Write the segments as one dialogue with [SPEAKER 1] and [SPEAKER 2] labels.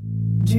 [SPEAKER 1] Du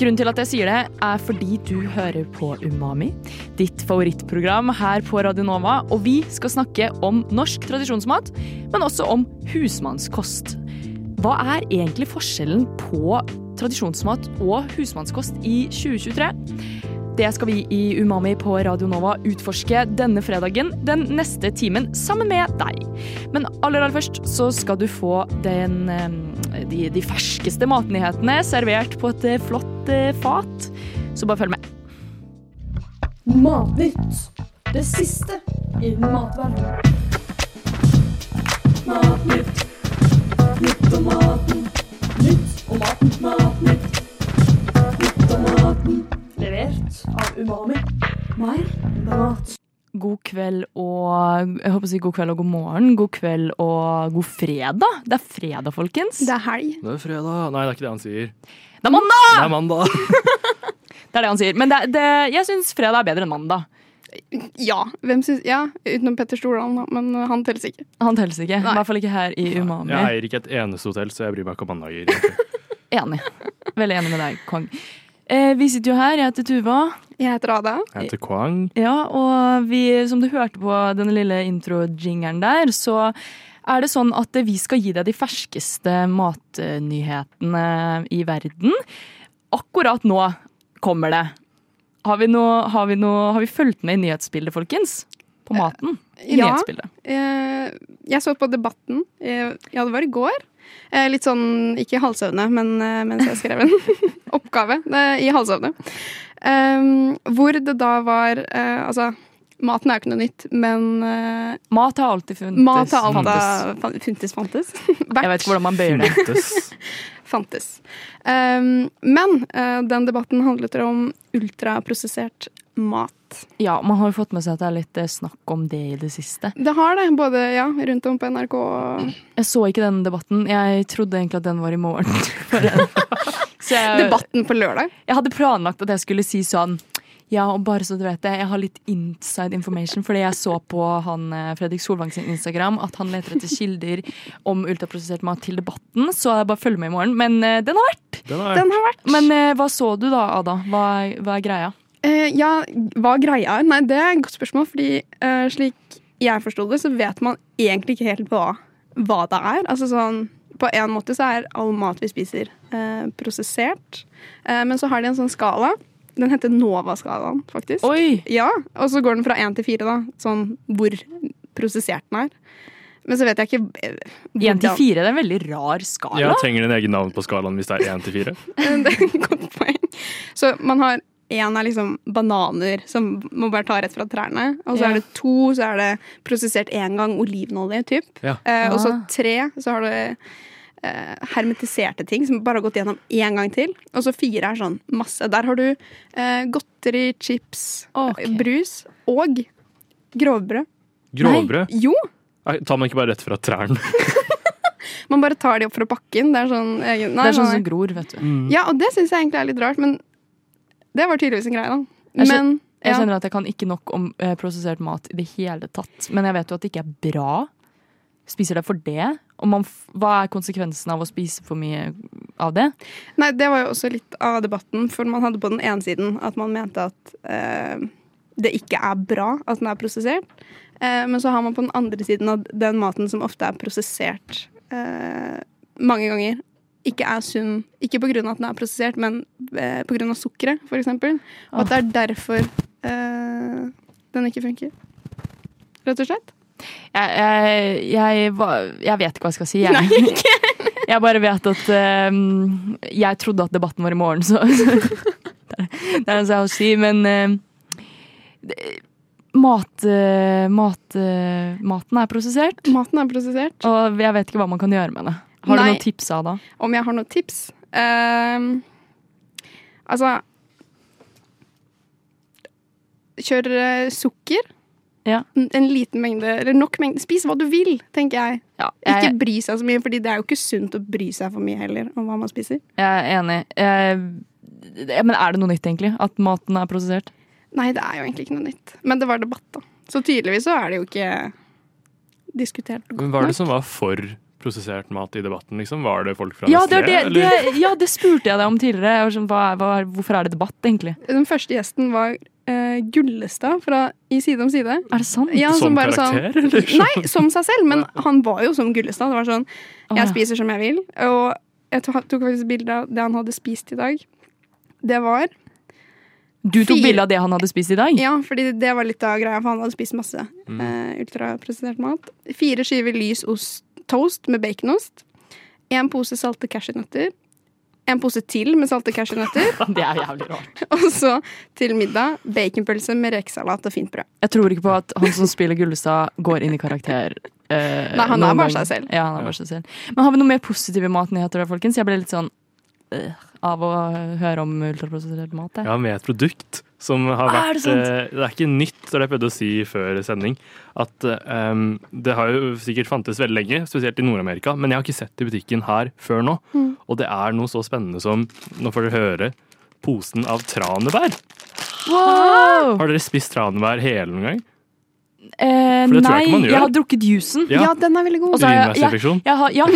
[SPEAKER 2] Grunnen til at jeg sier det, er fordi du hører på Umami, ditt favorittprogram her på Radio Nova, og vi skal snakke om norsk tradisjonsmat, men også om husmannskost. Hva er egentlig forskjellen på tradisjonsmat og husmannskost i 2023? Det skal vi i Umami på Radio Nova utforske denne fredagen, den neste timen, sammen med deg. Men aller aller først så skal du få den, eh, de, de ferskeste matnyhetene servert på et eh, flott eh, fat. Så bare følg med.
[SPEAKER 1] Matnytt Det siste i matverden Matnytt Nytt om maten Nytt om maten Matnytt Nytt om maten Levert av Umami Mer mat
[SPEAKER 2] God kveld og Jeg håper å si god kveld og god morgen. God kveld og god fredag. Det er fredag, folkens.
[SPEAKER 3] Det er helg.
[SPEAKER 4] Nå er det fredag. Nei, det er ikke det han sier.
[SPEAKER 2] Det er mandag!
[SPEAKER 4] Det er mandag.
[SPEAKER 2] Det er det han sier. Men det, det, jeg syns fredag er bedre enn mandag.
[SPEAKER 3] Ja, hvem syns, ja utenom Petter Stordalen, da, men eh, han telles ikke.
[SPEAKER 2] Han telles ikke.
[SPEAKER 3] Nei.
[SPEAKER 2] I hvert fall ikke her i Umami.
[SPEAKER 4] Jeg eier ikke et eneste hotell, så jeg bryr meg ikke om mandager. egentlig.
[SPEAKER 2] Enig. Veldig enig med deg, Kong. Eh, vi sitter jo her, jeg heter Tuva,
[SPEAKER 3] Jeg heter Ada.
[SPEAKER 4] Jeg
[SPEAKER 2] Eh,
[SPEAKER 4] heter Kwang.
[SPEAKER 2] ja, og vi, som du hørte på denne lille intro-jingeren der, så er det sånn at vi skal gi deg de ferskeste matnyhetene i verden. Akkurat nå kommer det. Har vi, noe, har vi, noe, har vi fulgt med i nyhetsbildet, folkens? På maten? I
[SPEAKER 3] ja.
[SPEAKER 2] nyhetsbildet.
[SPEAKER 3] Eh, jeg så på Debatten. Eh, ja, det var i går. Eh, litt sånn, ikke i halvsøvne, men eh, mens jeg skrev en oppgave eh, i halvsøvne. Eh, hvor det da var eh, Altså, maten er jo ikke noe nytt, men eh,
[SPEAKER 2] Mat har Mm. alltid funtes.
[SPEAKER 3] mat har
[SPEAKER 2] Fantes.
[SPEAKER 3] alltid fan- funtes, fantes.
[SPEAKER 2] Jeg vet ikke hvordan man bøyer det.
[SPEAKER 4] Fintes.
[SPEAKER 3] fantes. Eh, men eh, den debatten handlet om ultraprosessert mat.
[SPEAKER 2] Ja, Man har jo fått med seg at det er litt eh, snakk om det i det siste.
[SPEAKER 3] Det har det, både ja, rundt om på NRK og
[SPEAKER 2] Jeg så ikke den debatten. Jeg trodde egentlig at den var i morgen. For en- så jeg,
[SPEAKER 3] Debatten på lørdag.
[SPEAKER 2] jeg hadde planlagt at jeg skulle si sånn ja, og bare så du vet det, jeg har litt inside information, fordi jeg så på han eh, Fredrik Solvang sin Instagram at han leter etter kilder om ultraprosessert mat til debatten, så jeg bare følger med i morgen. Men eh, den har vært!
[SPEAKER 4] Den er,
[SPEAKER 3] Den har vært
[SPEAKER 2] Men eh, hva så du da, Ada? Hva, er- hva er greia?
[SPEAKER 3] Eh, Ja, hva greia er? Nei, det er et godt spørsmål, fordi eh, slik jeg forsto det, så vet man egentlig ikke helt hva, hva det er. Altså sånn på en måte så er all mat vi spiser, eh, prosessert. Eh, men så har de en sånn skala. Den heter Nova-skalaen, faktisk.
[SPEAKER 2] Oi!
[SPEAKER 3] Ja, og så går den fra én til fire, da. Sånn hvor prosessert den er. Men så vet jeg ikke eh,
[SPEAKER 2] Én til
[SPEAKER 3] hvordan-
[SPEAKER 2] fire, det er en veldig rar skala.
[SPEAKER 4] jeg trenger din egen navn på skalaen hvis det er én til fire.
[SPEAKER 3] Det er et godt poeng. Så man har én er liksom bananer som man bare tar rett fra trærne. Og så
[SPEAKER 2] Ja.
[SPEAKER 3] er det to, så er det prosessert én gang olivenolje, typ.
[SPEAKER 4] Ja.
[SPEAKER 3] Eh, og så
[SPEAKER 2] Ah.
[SPEAKER 3] tre, så har du eh, hermetiserte ting som bare har gått gjennom én gang til. Og så fire er sånn masse. Der har du eh, godteri, chips, eh,
[SPEAKER 2] Ok.
[SPEAKER 3] brus og grovbrød.
[SPEAKER 4] Grovbrød?
[SPEAKER 3] Jo!
[SPEAKER 4] Nei, Tar man ikke bare rett fra trærne?
[SPEAKER 3] Man bare tar de opp fra bakken. Det er sånn egen
[SPEAKER 2] Det
[SPEAKER 3] nei,
[SPEAKER 2] er sånn
[SPEAKER 3] nei,
[SPEAKER 2] som gror, vet du.
[SPEAKER 3] Ja, og det syns jeg egentlig er litt rart, men det var tydeligvis en greie, da.
[SPEAKER 2] Jeg skjøn-
[SPEAKER 3] Men
[SPEAKER 2] Jeg
[SPEAKER 3] ja.
[SPEAKER 2] kjenner at jeg kan ikke nok om eh, prosessert mat i det hele tatt. Men jeg vet jo at det ikke er bra. Spiser det for det? Og man, f- hva er konsekvensen av å spise for mye av det?
[SPEAKER 3] Nei, det var jo også litt av debatten, for man hadde på den ene siden at man mente at eh, det ikke er bra at den er prosessert, eh, men så har man på den andre siden at den maten som ofte er prosessert eh, mange ganger, ikke er sunn, ikke på grunn av at den er prosessert, men eh, på grunn av sukkeret, for eksempel, og at det er derfor eh, den ikke funker. Rett og slett.
[SPEAKER 2] Jeg, jeg, jeg, var- jeg vet ikke hva jeg skal si. Jeg, jeg bare vet at eh, Jeg trodde at debatten var i morgen, så Det er det eneste jeg har å si. Men eh, det- mat, eh, mat, eh, maten er prosessert,
[SPEAKER 3] Maten er prosessert.
[SPEAKER 2] og jeg vet ikke hva man kan gjøre med det. Har du
[SPEAKER 3] Nei.
[SPEAKER 2] noen tips, Ada?
[SPEAKER 3] Om jeg har noen tips? Ehm, altså kjør eh, sukker.
[SPEAKER 2] Ja.
[SPEAKER 3] En en liten mengde, eller nok mengde. Spis hva du vil, tenker jeg.
[SPEAKER 2] Ja, jeg,
[SPEAKER 3] Ikke bry seg så mye, Fordi det er jo ikke sunt å bry seg for mye heller om hva man spiser.
[SPEAKER 2] jeg er enig. Eh, ja, men er det noe nytt, egentlig? At maten er prosessert?
[SPEAKER 3] Nei, det er jo egentlig ikke noe nytt. Men det var debatt, da. Så tydeligvis så er det jo ikke diskutert godt
[SPEAKER 4] Men hva er
[SPEAKER 3] nok.
[SPEAKER 4] det som var for prosessert mat i debatten, liksom? Var det folk fra
[SPEAKER 2] Ja det, er det,
[SPEAKER 4] eller?
[SPEAKER 2] det, ja, det spurte jeg deg om tidligere. Jeg var sånn, hva, er- hva, er- hvorfor er det debatt, egentlig?
[SPEAKER 4] sånn-
[SPEAKER 3] Den første gjesten var eh, Gullestad fra I Side om side.
[SPEAKER 2] Er det sant?
[SPEAKER 3] Ja,
[SPEAKER 4] Som
[SPEAKER 3] som bare
[SPEAKER 4] karakter,
[SPEAKER 3] sånn,
[SPEAKER 2] Liksom.
[SPEAKER 4] eller?
[SPEAKER 3] Nei, som seg selv, men han var jo som Gullestad. Det var sånn,
[SPEAKER 2] Å, ja.
[SPEAKER 3] jeg spiser som jeg vil. Og jeg to- tok faktisk bilde av det han hadde spist i dag. Det var
[SPEAKER 2] Du tok
[SPEAKER 3] Fire-
[SPEAKER 2] bilde av det han hadde spist i dag?
[SPEAKER 3] Ja, fordi det var litt av greia, for han hadde spist masse
[SPEAKER 2] Mm.
[SPEAKER 3] eh, ultraprosessert mat. Fire skiver lys ost, toast med baconost. En pose salte cashewnøtter. En pose til med salte cashewnøtter.
[SPEAKER 2] Det er jævlig rart.
[SPEAKER 3] og så til middag baconpølse med rekesalat og fint brød.
[SPEAKER 2] Jeg tror ikke på at han som spiller Gullestad, går inn i karakter. eh,
[SPEAKER 3] Nei, han
[SPEAKER 2] noen
[SPEAKER 3] er bare
[SPEAKER 2] gang.
[SPEAKER 3] seg selv.
[SPEAKER 2] Ja, han er bare seg selv. Men har vi noe mer positive matnyheter da, folkens? Jeg ble litt sånn øh, av å høre om ultraprosessert mat. jeg.
[SPEAKER 4] Ja, med et produkt som har
[SPEAKER 2] Ah, er
[SPEAKER 4] vært
[SPEAKER 2] det sant?
[SPEAKER 4] eh, Det er ikke nytt, det er det jeg prøvde å si før sending. At eh, um, det har jo sikkert fantes veldig lenge, spesielt i Nord-Amerika, men jeg har ikke sett det i butikken her før nå.
[SPEAKER 2] Mm.
[SPEAKER 4] Og det er noe så spennende som Nå får dere høre. Posen av tranebær.
[SPEAKER 2] Wow!
[SPEAKER 4] Har dere spist tranebær hele noen gang?
[SPEAKER 2] Eh,
[SPEAKER 4] For det tror jeg
[SPEAKER 2] nei,
[SPEAKER 4] ikke man gjør.
[SPEAKER 2] jeg har drukket juicen.
[SPEAKER 4] Ja.
[SPEAKER 3] Ja, den er veldig god.
[SPEAKER 2] Og så har jeg, jeg,
[SPEAKER 4] Urinveisinfeksjon?
[SPEAKER 2] jeg har, ja.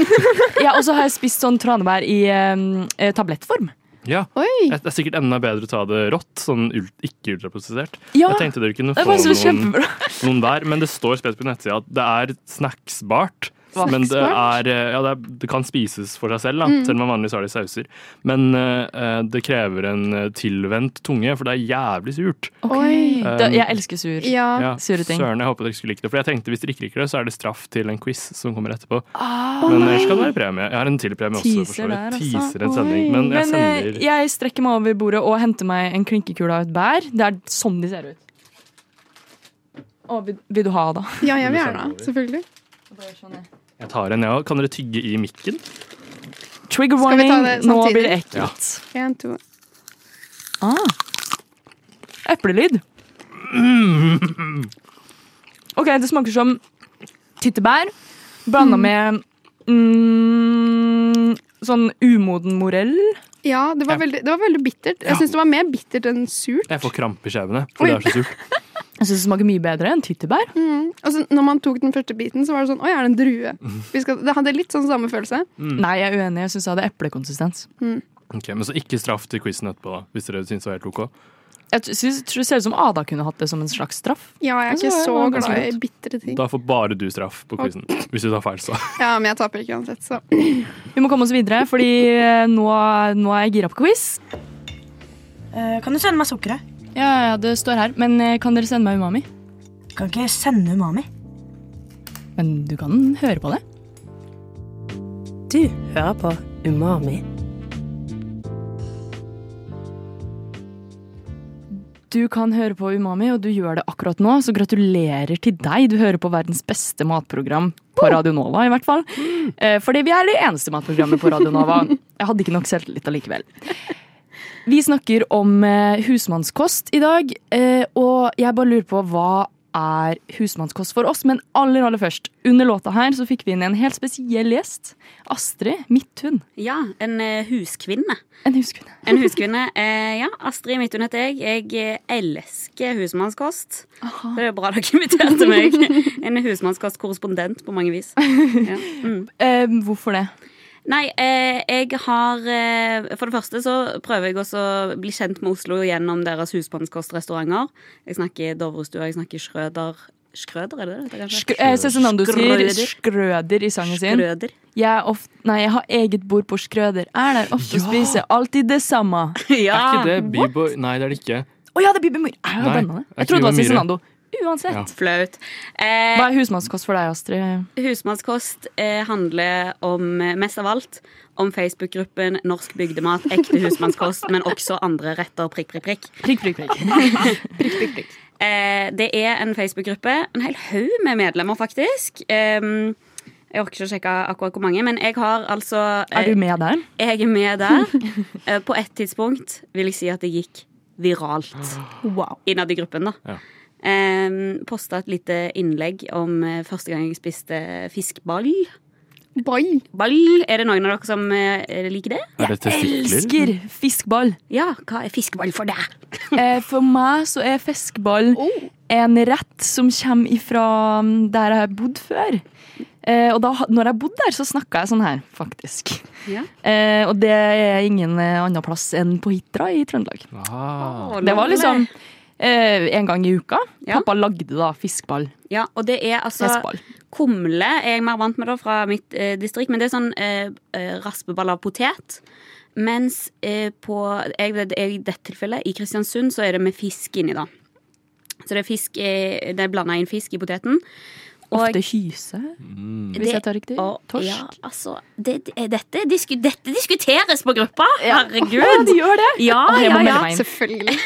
[SPEAKER 2] ja, og så har jeg spist sånn tranebær i eh, eh, tablettform.
[SPEAKER 4] Ja.
[SPEAKER 3] Oi!
[SPEAKER 4] Det er sikkert enda bedre å ta det rått, sånn ult, ikke ultraprosessert.
[SPEAKER 2] Ja,
[SPEAKER 4] Jeg tenkte dere kunne
[SPEAKER 2] det
[SPEAKER 4] få
[SPEAKER 2] var så
[SPEAKER 4] noen,
[SPEAKER 2] kjempebra.
[SPEAKER 4] noen hver, men det står spesielt på nettsida at det er snacksbart.
[SPEAKER 2] Snacksbart? Mm.
[SPEAKER 4] Men det, er, eh, ja, det, er, det kan spises for seg selv, da, selv om man vanligvis har det i sauser. Men eh, eh, det krever en eh, tilvendt tunge, for det er jævlig surt.
[SPEAKER 3] Oi.
[SPEAKER 2] Da, jeg elsker sur.
[SPEAKER 3] Ja.
[SPEAKER 4] Ja,
[SPEAKER 2] Sure ting.
[SPEAKER 4] Søren, jeg håper dere skulle like det. For jeg tenkte hvis dere ikke liker det, så er det straff til en quiz som kommer etterpå.
[SPEAKER 2] Ah,
[SPEAKER 4] Men ellers kan det være premie. Jeg har en til premie også. For
[SPEAKER 2] Teaser
[SPEAKER 4] så
[SPEAKER 2] der,
[SPEAKER 4] vidt.
[SPEAKER 2] altså.
[SPEAKER 4] Teaser en
[SPEAKER 3] Oi.
[SPEAKER 4] sending. Men jeg
[SPEAKER 2] Men eh,
[SPEAKER 4] sender
[SPEAKER 2] jeg strekker meg over bordet og henter meg en klinkekule av et bær. Det er sånn de ser ut. Å, vil, vil du ha, da?
[SPEAKER 3] Ja, jeg vil gjerne. Selvfølgelig.
[SPEAKER 4] Jeg tar en, jeg òg. Kan dere tygge i mikken?
[SPEAKER 2] Trigger
[SPEAKER 3] Skal vi
[SPEAKER 2] warning.
[SPEAKER 3] ta det
[SPEAKER 2] Nå
[SPEAKER 3] samtidig?
[SPEAKER 2] blir det ekkelt.
[SPEAKER 3] En, to.
[SPEAKER 2] Ah. Eplelyd. Mm. OK, det smaker som tyttebær blanda med mm, sånn umoden morell.
[SPEAKER 3] Ja, det var,
[SPEAKER 4] Ja.
[SPEAKER 3] Veldig, det var veldig bittert. Jeg syns det var mer bittert enn surt.
[SPEAKER 4] Jeg får krampe i kjevene, for det er så surt.
[SPEAKER 2] Jeg syns det smaker mye bedre enn tyttebær.
[SPEAKER 4] Mm.
[SPEAKER 3] Altså, når man tok den første biten, så var det sånn Oi, er det en drue? Vi skal, det hadde litt sånn samme følelse.
[SPEAKER 2] Nei, jeg er uenig. Jeg syns det hadde eplekonsistens.
[SPEAKER 4] Ok, men så ikke straff til quizen etterpå, da, hvis dere syns det var helt OK.
[SPEAKER 2] Jeg t- synes, tror det ser ut som Ada kunne hatt det som en slags straff.
[SPEAKER 3] Ja, jeg er
[SPEAKER 2] Altså,
[SPEAKER 3] ikke
[SPEAKER 2] det
[SPEAKER 3] så
[SPEAKER 2] var ganske
[SPEAKER 3] glad i
[SPEAKER 2] godt.
[SPEAKER 3] bitre ting.
[SPEAKER 4] Da får bare du straff på quizen. Hvis du tar feil, så.
[SPEAKER 3] Ja, men jeg taper ikke uansett, så
[SPEAKER 2] Vi må komme oss videre, fordi eh, nå, nå er jeg gira på quiz.
[SPEAKER 5] Eh, Kan du sende meg sukkeret?
[SPEAKER 2] Ja, ja, det står her. Men eh, kan dere sende meg umami?
[SPEAKER 5] Kan ikke sende umami.
[SPEAKER 2] Men du kan høre på det.
[SPEAKER 6] Du hører på Umami.
[SPEAKER 2] Du kan høre på Umami, og du gjør det akkurat nå, så gratulerer til deg. Du hører på verdens beste matprogram på Radio Nova, i hvert fall. Eh, Fordi vi er det eneste matprogrammet på Radio Nova. Jeg hadde ikke nok selvtillit allikevel. Vi snakker om eh, husmannskost i dag, eh, og jeg bare lurer på hva er husmannskost for oss? Men aller, aller først, under låta her så fikk vi inn en helt spesiell gjest. Astrid Midthun.
[SPEAKER 7] Ja, en eh, huskvinne.
[SPEAKER 2] En huskvinne.
[SPEAKER 7] En huskvinne, eh, ja. Astrid Midtun heter jeg. Jeg eh, elsker husmannskost. Det er jo bra dere inviterte meg. En husmannskostkorrespondent på mange vis. Ja. Mm.
[SPEAKER 2] Eh, Hvorfor det?
[SPEAKER 7] Nei, eh, jeg har eh, For det første så prøver jeg også å bli kjent med Oslo gjennom deres husmannskostrestauranter. Jeg snakker Dovrestua, jeg snakker Schrøder Schrøder, er det det? heter, kanskje?
[SPEAKER 2] Skr eh, Cezinando sier
[SPEAKER 7] Skrøder.
[SPEAKER 2] skrøder i sangen sin.
[SPEAKER 7] Schrøder.
[SPEAKER 2] Jeg, er ofte, nei, jeg har eget bord på Skrøder. Er der ofte og spiser alltid det samme.
[SPEAKER 7] Ja.
[SPEAKER 4] Er ikke det
[SPEAKER 2] Ah,
[SPEAKER 4] Bebo Nei, det er det ikke.
[SPEAKER 2] Å ja, det er Bibi Myhre. Er jo
[SPEAKER 4] Nei,
[SPEAKER 2] denne?
[SPEAKER 4] er
[SPEAKER 2] Jeg trodde det var
[SPEAKER 4] ikke Bibi
[SPEAKER 2] Cezinando. Uansett.
[SPEAKER 4] Ja.
[SPEAKER 7] Flaut. Eh,
[SPEAKER 2] Hva er husmannskost for deg, Astrid?
[SPEAKER 7] Husmannskost eh, handler om, eh, mest av alt om Facebook-gruppen Norsk bygdemat, ekte husmannskost, men også andre retter, prikk, prikk, prikk.
[SPEAKER 2] Prikk, prikk, prikk.
[SPEAKER 7] Eh, det er en Facebook-gruppe, en hel haug med medlemmer, faktisk. Em, jeg orker ikke å sjekke akkurat hvor mange, men jeg har altså
[SPEAKER 2] Er
[SPEAKER 7] eh,
[SPEAKER 2] du med der?
[SPEAKER 7] Jeg er med der. Eh, på et tidspunkt vil jeg si at jeg gikk viralt
[SPEAKER 3] Wow.
[SPEAKER 7] innad i gruppen. da.
[SPEAKER 4] Ja.
[SPEAKER 7] Ehm, Posta et lite innlegg om eh, første gang jeg spiste fiskball.
[SPEAKER 3] Bye.
[SPEAKER 7] Ball, Er det noen av dere som eh, liker det?
[SPEAKER 4] Er det testikler?
[SPEAKER 2] Elsker fiskball.
[SPEAKER 7] Ja, hva er fiskeball for deg?
[SPEAKER 2] Eh, for meg så er fiskeball
[SPEAKER 3] Oh,
[SPEAKER 2] en rett som kommer ifra mm, der jeg har bodd før. Eh, og da, når jeg bodde der, så snakka jeg sånn her, faktisk.
[SPEAKER 7] Ja.
[SPEAKER 2] Eh, og det er ingen eh, annen plass enn på Hitra i Trøndelag.
[SPEAKER 4] Ah,
[SPEAKER 2] Det var liksom eh, en gang i uka.
[SPEAKER 7] Ja.
[SPEAKER 2] Pappa lagde da fiskeball.
[SPEAKER 7] Ja, og det er altså
[SPEAKER 2] Fiskeball.
[SPEAKER 7] Kumle er jeg mer vant med da fra mitt eh, distrikt, men det er sånn eh, eh, raspeball av potet. Mens eh, på jeg, vet- jeg, i dette tilfellet, i Kristiansund, så er det med fisk inni, da. Så det er fisk eh, Det er blanda inn fisk i poteten.
[SPEAKER 2] Ofte hyse,
[SPEAKER 4] mm.
[SPEAKER 2] hvis jeg tar riktig.
[SPEAKER 7] og-
[SPEAKER 2] Torsk.
[SPEAKER 7] Ja, altså det, det- dette, disku, dette diskuteres på gruppa!
[SPEAKER 2] Ja,
[SPEAKER 7] Herregud!
[SPEAKER 2] de gjør det!
[SPEAKER 7] Ja,
[SPEAKER 2] Å, jeg
[SPEAKER 7] ja,
[SPEAKER 2] må
[SPEAKER 7] ja.
[SPEAKER 2] melde meg inn.
[SPEAKER 3] Selvfølgelig.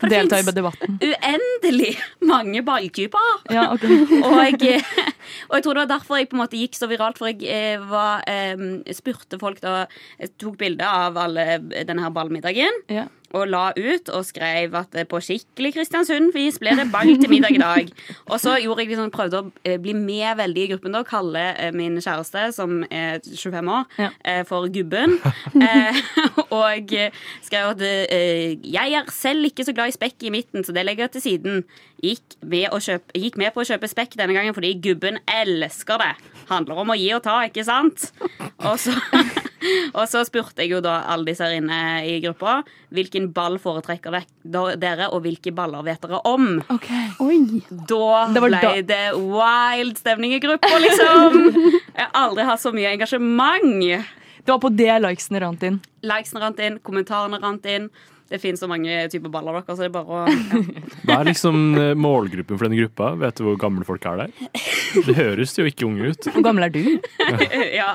[SPEAKER 7] For det
[SPEAKER 2] Delta i
[SPEAKER 7] finnes
[SPEAKER 2] debatten.
[SPEAKER 7] uendelig mange balltyper.
[SPEAKER 2] Ja, ok.
[SPEAKER 7] Og jeg, og jeg tror det var derfor jeg på en måte gikk så viralt, for jeg eh, var, em, spurte folk da jeg Tok bilde av alle denne her ballmiddagen
[SPEAKER 2] Ja.
[SPEAKER 7] og la ut og skrev at eh, på skikkelig Kristiansund-vis blir det ball til middag i dag. Og så gjorde jeg liksom, prøvde å eh, bli med veldig i gruppen da, og kalle eh, min kjæreste, som er 25 år,
[SPEAKER 2] Ja.
[SPEAKER 7] eh, for gubben. Eh, og eh, skrev at eh, jeg er selv ikke så glad i spekk i midten, så det legger jeg til siden. Gikk med, å kjøpe, gikk med på å kjøpe spekk denne gangen fordi gubben elsker det. Handler om å gi og ta, ikke sant? Og så, og så spurte jeg jo da alle disse her inne i gruppa hvilken ball foretrekker dek- dere, og hvilke baller vet dere om.
[SPEAKER 2] Ok.
[SPEAKER 3] Oi.
[SPEAKER 7] Da
[SPEAKER 2] Det var
[SPEAKER 7] ble
[SPEAKER 2] da-
[SPEAKER 7] det wild stemning i gruppa, liksom. Jeg har aldri hatt så mye engasjement.
[SPEAKER 2] Det var på det likesene rant inn.
[SPEAKER 7] Likesene rant inn, kommentarene rant inn. Det finnes så mange typer baller, dere, så det er bare å ja.
[SPEAKER 4] Hva er liksom eh, målgruppen for denne gruppa? Vet du hvor gamle folk er der? Det høres jo ikke unge ut.
[SPEAKER 2] Hvor gammel er du?
[SPEAKER 7] ja,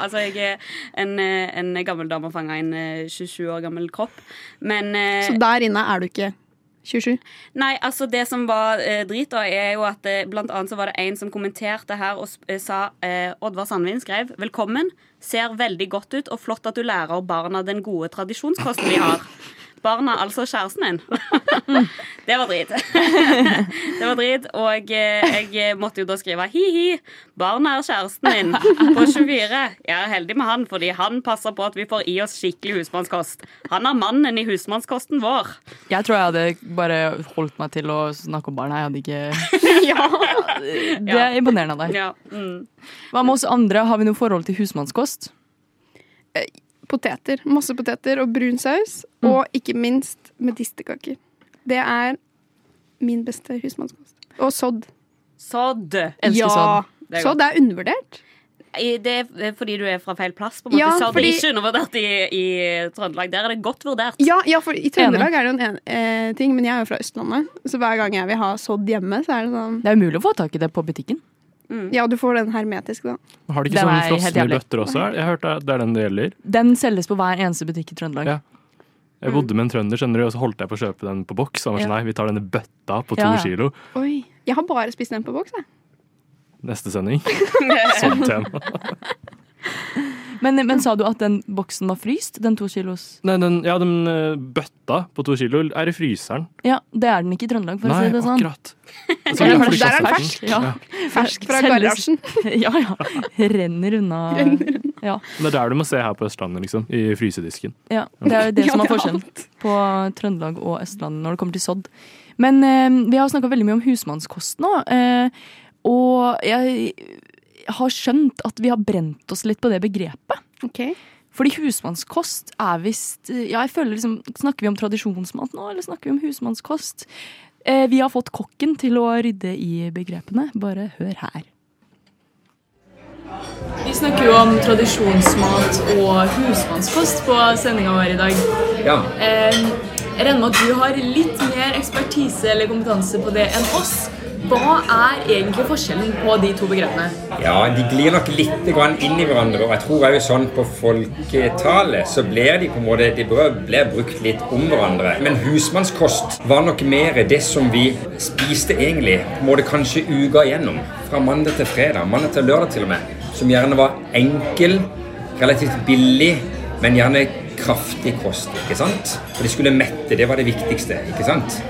[SPEAKER 7] altså, jeg er en, eh, en gammel dame fanga i en eh, 27 år gammel kropp. Men eh,
[SPEAKER 3] Så der inne er du ikke 27?
[SPEAKER 7] Nei, altså det som var eh, drit da, er jo at eh, blant annet så var det en som kommenterte her og sp- eh, sa eh, Oddvar Sandvin skrev Velkommen, ser veldig godt ut og flott at du lærer barna den gode tradisjonskosten vi har. Barna, altså kjæresten min. det var drit. det var drit, og eh, jeg måtte jo da skrive hi-hi. Barna er kjæresten min på 24. Jeg er heldig med han, fordi han passer på at vi får i oss skikkelig husmannskost. Han er mannen i husmannskosten vår.
[SPEAKER 2] Jeg tror jeg hadde bare holdt meg til å snakke om barna. Jeg hadde ikke Det er imponerende av deg.
[SPEAKER 7] Ja, mm.
[SPEAKER 2] Hva med oss andre? Har vi noe forhold til husmannskost?
[SPEAKER 3] Poteter. Masse poteter og brun saus.
[SPEAKER 4] Mm.
[SPEAKER 3] Og ikke minst medisterkaker. Det er min beste husmannskost. Og sodd.
[SPEAKER 7] Sådd.
[SPEAKER 2] Elsker
[SPEAKER 3] ja.
[SPEAKER 2] sodd.
[SPEAKER 7] Det er
[SPEAKER 3] Sodd er undervurdert.
[SPEAKER 7] I- Det er fordi du er fra feil plass, på en måte.
[SPEAKER 3] Ja,
[SPEAKER 7] Sådd
[SPEAKER 3] fordi-
[SPEAKER 7] er ikke undervurdert i, i Trøndelag. Der er det godt vurdert.
[SPEAKER 3] Ja, ja for i Trøndelag er det jo en en eh, ting, men jeg er jo fra Østlandet. Så hver gang jeg vil ha sodd hjemme, så er det sånn
[SPEAKER 2] Det er umulig å få tak i det på butikken.
[SPEAKER 3] Ja, du får den hermetisk, da.
[SPEAKER 4] Har de
[SPEAKER 2] Den
[SPEAKER 4] ikke
[SPEAKER 2] er
[SPEAKER 4] sånne
[SPEAKER 2] helt
[SPEAKER 4] frosne
[SPEAKER 2] jævlig.
[SPEAKER 4] bøtter også? Jeg hørte at det er den det gjelder.
[SPEAKER 2] Den selges på hver eneste butikk i Trøndelag.
[SPEAKER 4] Ja. Jeg bodde med en trønder, skjønner du, og så holdt jeg på å kjøpe den på boks. Han var sånn,
[SPEAKER 2] Mm. Ja.
[SPEAKER 4] nei, vi tar denne bøtta på to
[SPEAKER 2] Ja, ja.
[SPEAKER 4] kilo.
[SPEAKER 3] Oi. Jeg har bare spist den på boks, jeg.
[SPEAKER 4] Neste sending. Sånn tema.
[SPEAKER 2] Men, men sa du at den boksen var fryst? Den to kilos?
[SPEAKER 4] Nei, den, ja, den eh, bøtta på to kilo er i fryseren.
[SPEAKER 2] Ja, det er den ikke i Trøndelag, for å
[SPEAKER 4] Nei,
[SPEAKER 2] si det sånn.
[SPEAKER 4] akkurat. Så
[SPEAKER 2] Der er
[SPEAKER 4] derfor
[SPEAKER 2] den-
[SPEAKER 3] Altså, der er den
[SPEAKER 4] kastet
[SPEAKER 3] fersk.
[SPEAKER 4] den.
[SPEAKER 2] Ja.
[SPEAKER 4] Ja.
[SPEAKER 3] Fersk fra
[SPEAKER 2] Selges.
[SPEAKER 3] garasjen.
[SPEAKER 2] Ja, ja. Renner unna. Ja,
[SPEAKER 4] Men Det er der du må se her på Østlandet, liksom. I frysedisken.
[SPEAKER 2] ja. Det er jo det
[SPEAKER 3] Ja,
[SPEAKER 2] som er
[SPEAKER 3] det er
[SPEAKER 2] forskjellen på Trøndelag og Østlandet når det kommer til sodd. Men eh, vi har snakka veldig mye om husmannskost nå, eh, og jeg har skjønt at vi har brent oss litt på det begrepet. Fordi husmannskost er visst Ja, jeg føler liksom Snakker vi om tradisjonsmat nå, eller snakker vi om husmannskost? Eh, vi har fått kokken til å rydde i begrepene. Bare hør her. Vi snakker jo om tradisjonsmat og husmannskost på sendinga vår i dag.
[SPEAKER 8] Ja.
[SPEAKER 2] Eh, jeg regner med at du har litt mer ekspertise eller kompetanse på det enn oss. Hva er egentlig forskjellen på de to begrepene?
[SPEAKER 8] ja, de glir nok litt grann inn i hverandre. Og jeg tror også sånn på folketale så blir de på en måte De bør- blir brukt litt om hverandre. Men husmannskost var nok mer det som vi spiste egentlig, på en måte kanskje uka igjennom. Fra mandag til fredag, mandag til lørdag til og med. Som gjerne var enkel, relativt billig, men gjerne kraftig kost, ikke sant? For de skulle mette, det var det viktigste, ikke sant?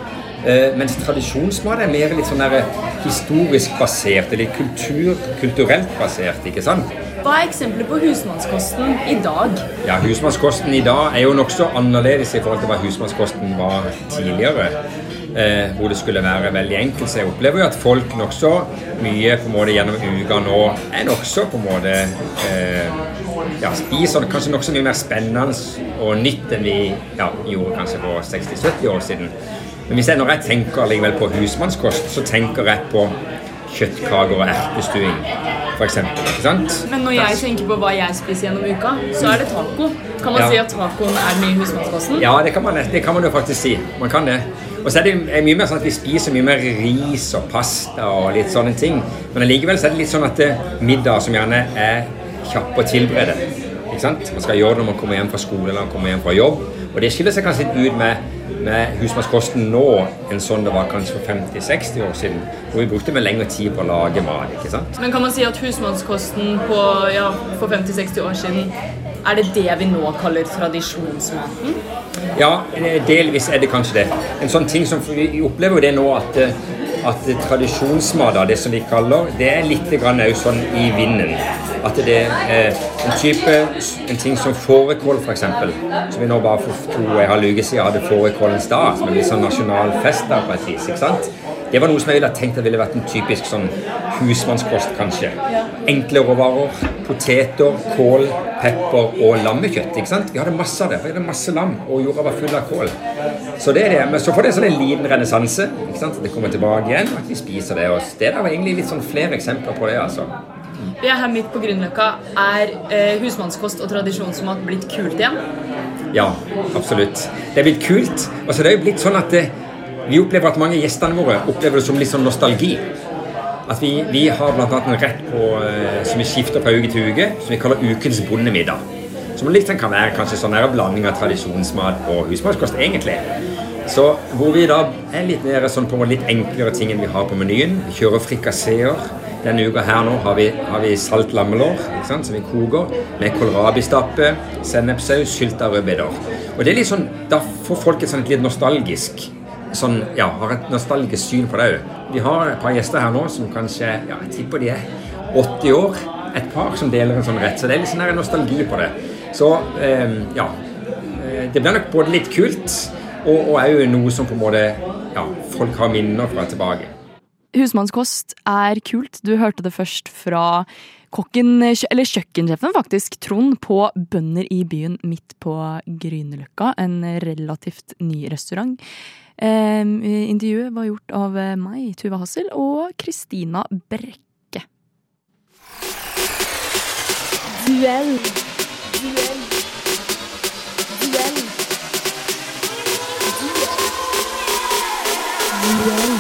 [SPEAKER 8] Eh, mens tradisjonsmat er mer litt sånn der historisk basert, eller kultur, kulturelt basert, ikke sant?
[SPEAKER 9] Hva er eksempler på husmannskosten i dag?
[SPEAKER 8] Ja, Husmannskosten i dag er jo nokså annerledes i forhold til hva husmannskosten var tidligere. Eh, hvor det skulle være veldig enkelt. Så jeg opplever jo at folk nokså mye på en måte gjennom uka nå er nokså på en måte eh, ja, spiser kanskje nokså mye mer spennende og nytt enn vi ja, gjorde kanskje for 60-70 år siden. Men hvis jeg når jeg tenker allikevel på husmannskost, så tenker jeg på kjøttkaker og ertestuing, f.eks. Ikke sant?
[SPEAKER 9] Men når jeg tenker på hva jeg spiser gjennom uka, så er det taco. Kan man
[SPEAKER 8] Ja.
[SPEAKER 9] si at tacoen er den nye
[SPEAKER 2] Mm.
[SPEAKER 9] husmannskosten?
[SPEAKER 8] Ja, det kan man, det kan man jo faktisk si. Man kan det. Og så er det er mye mer sånn at vi spiser mye mer ris og pasta og litt sånne ting. Men allikevel så er det litt sånn at eh, middag som gjerne er kjapp å tilberede. Ikke sant? Man skal gjøre det når man kommer hjem fra skole eller man kommer hjem fra jobb. Og det skiller seg kanskje litt ut med, med husmannskosten nå enn sånn det var kanskje for 50-60 år siden. Hvor vi brukte med lengre tid på å lage mat. ikke sant?
[SPEAKER 9] Men kan man si at husmannskosten på, ja, for 50-60 år siden er det det vi nå kaller tradisjonsmaten?
[SPEAKER 8] Ja, eh, delvis er det kanskje det. En sånn ting som Vi opplever jo det nå at, eh, at tradisjonsmat, da, det som vi kaller, det er litt grann også sånn i vinden. At det er eh, en type en ting som fårikål, f.eks. Som vi nå bare for to og en halv uke siden hadde fårikålens dag. Som er litt sånn nasjonal fest da, på et vis. ikke sant? Det var noe som jeg ville ha tenkt at ville vært en typisk sånn husmannskost, kanskje. Enkle råvarer. Poteter, kål, pepper og lammekjøtt. ikke sant? Vi hadde masse av det. for Vi hadde masse lam, og jorda var full av kål. Så det er det. Men så får det sånn en liten renessanse. ikke sant? Det kommer tilbake igjen, og at vi spiser det. Og det der var egentlig litt sånn flere eksempler på det, altså.
[SPEAKER 9] Vi er her midt på Grünerløkka. Er eh, husmannskost og tradisjonsmat blitt kult igjen?
[SPEAKER 8] Ja, absolutt. Det er blitt kult. Og så er det jo blitt sånn at eh, vi opplever at mange av gjestene våre opplever det som litt sånn nostalgi. At vi, vi har bl.a. en rett på, eh, som vi skifter fra uke til uke, som vi kaller ukens bondemiddag. Som litt sånn kan være kanskje sånn her blanding av tradisjonsmat og husmannskost, egentlig. Så hvor vi da er litt mer sånn på litt enklere ting enn vi har på menyen. Vi kjører frikasseer. Denne uka her nå har vi, har vi salt lammelår ikke sant, som vi koker med kålrabistappe, sennepssaus, sylta rødbeter. Og det er litt sånn, Da får folk et sånn litt nostalgisk sånn, ja, har et nostalgisk syn på det òg. Vi har et par gjester her nå som kanskje ja, jeg tipper de er 80 år. Et par som deler en sånn rett. Så det er litt sånn her nostalgi på det. Så eh, ja. eh, Det blir nok både litt kult og, og er jo noe som på en måte ja, folk har minner fra tilbake.
[SPEAKER 2] Husmannskost er kult. Du hørte det først fra kokken, eller kjøkkensjefen faktisk, Trond, på Bønder i byen midt på Grünerløkka. En relativt ny restaurant. Eh, intervjuet var gjort av meg, Tuva Hassel, og Kristina Brekke.
[SPEAKER 1] Duell. Duell. Duell. Duell.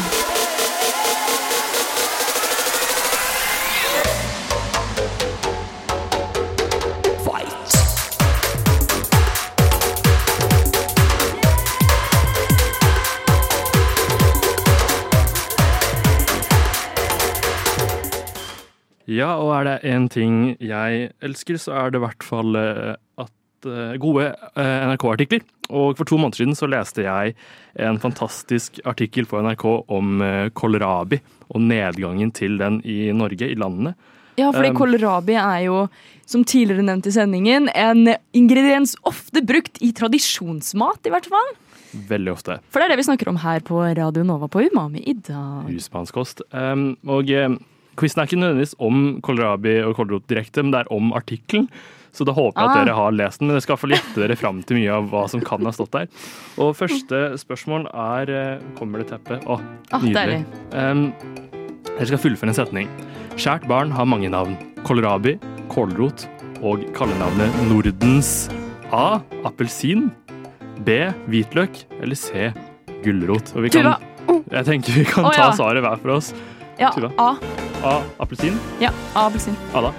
[SPEAKER 4] Ja, og er det én ting jeg elsker, så er det i hvert fall eh, at eh, gode eh, NRK-artikler. Og for to måneder siden så leste jeg en fantastisk artikkel på NRK om eh, kålrabi og nedgangen til den i Norge, i landet.
[SPEAKER 2] Ja, fordi
[SPEAKER 4] Um,
[SPEAKER 2] kålrabi er jo, som tidligere nevnt i sendingen, en ingrediens ofte brukt i tradisjonsmat, i hvert fall.
[SPEAKER 4] Veldig ofte.
[SPEAKER 2] For det er det vi snakker om her på Radio Nova på Umami i dag.
[SPEAKER 4] husmannskost. Um, og eh, quizen er ikke nødvendigvis om kålrabi og kålrot direkte, men det er om artikkelen. Så da håper jeg at
[SPEAKER 2] Ah.
[SPEAKER 4] dere har lest den, men dere skal få gjette dere fram til mye av hva som kan ha stått der. Og første spørsmål er eh, Kommer det teppe? Å,
[SPEAKER 2] Ah,
[SPEAKER 4] nydelig.
[SPEAKER 2] deilig.
[SPEAKER 4] Um, jeg skal fullføre en setning. Kjært barn har mange navn. Kålrabi, kålrot og kallenavnet Nordens A. Appelsin. B. Hvitløk. Eller C. Gulrot. Og vi kan,
[SPEAKER 2] Tuva.
[SPEAKER 4] jeg tenker vi kan
[SPEAKER 2] Å,
[SPEAKER 4] ta
[SPEAKER 2] ja.
[SPEAKER 4] svaret hver for oss.
[SPEAKER 2] Ja,
[SPEAKER 4] Tuva.
[SPEAKER 2] A.
[SPEAKER 4] A. Appelsin.
[SPEAKER 2] Ja, A, appelsin.
[SPEAKER 4] Ada.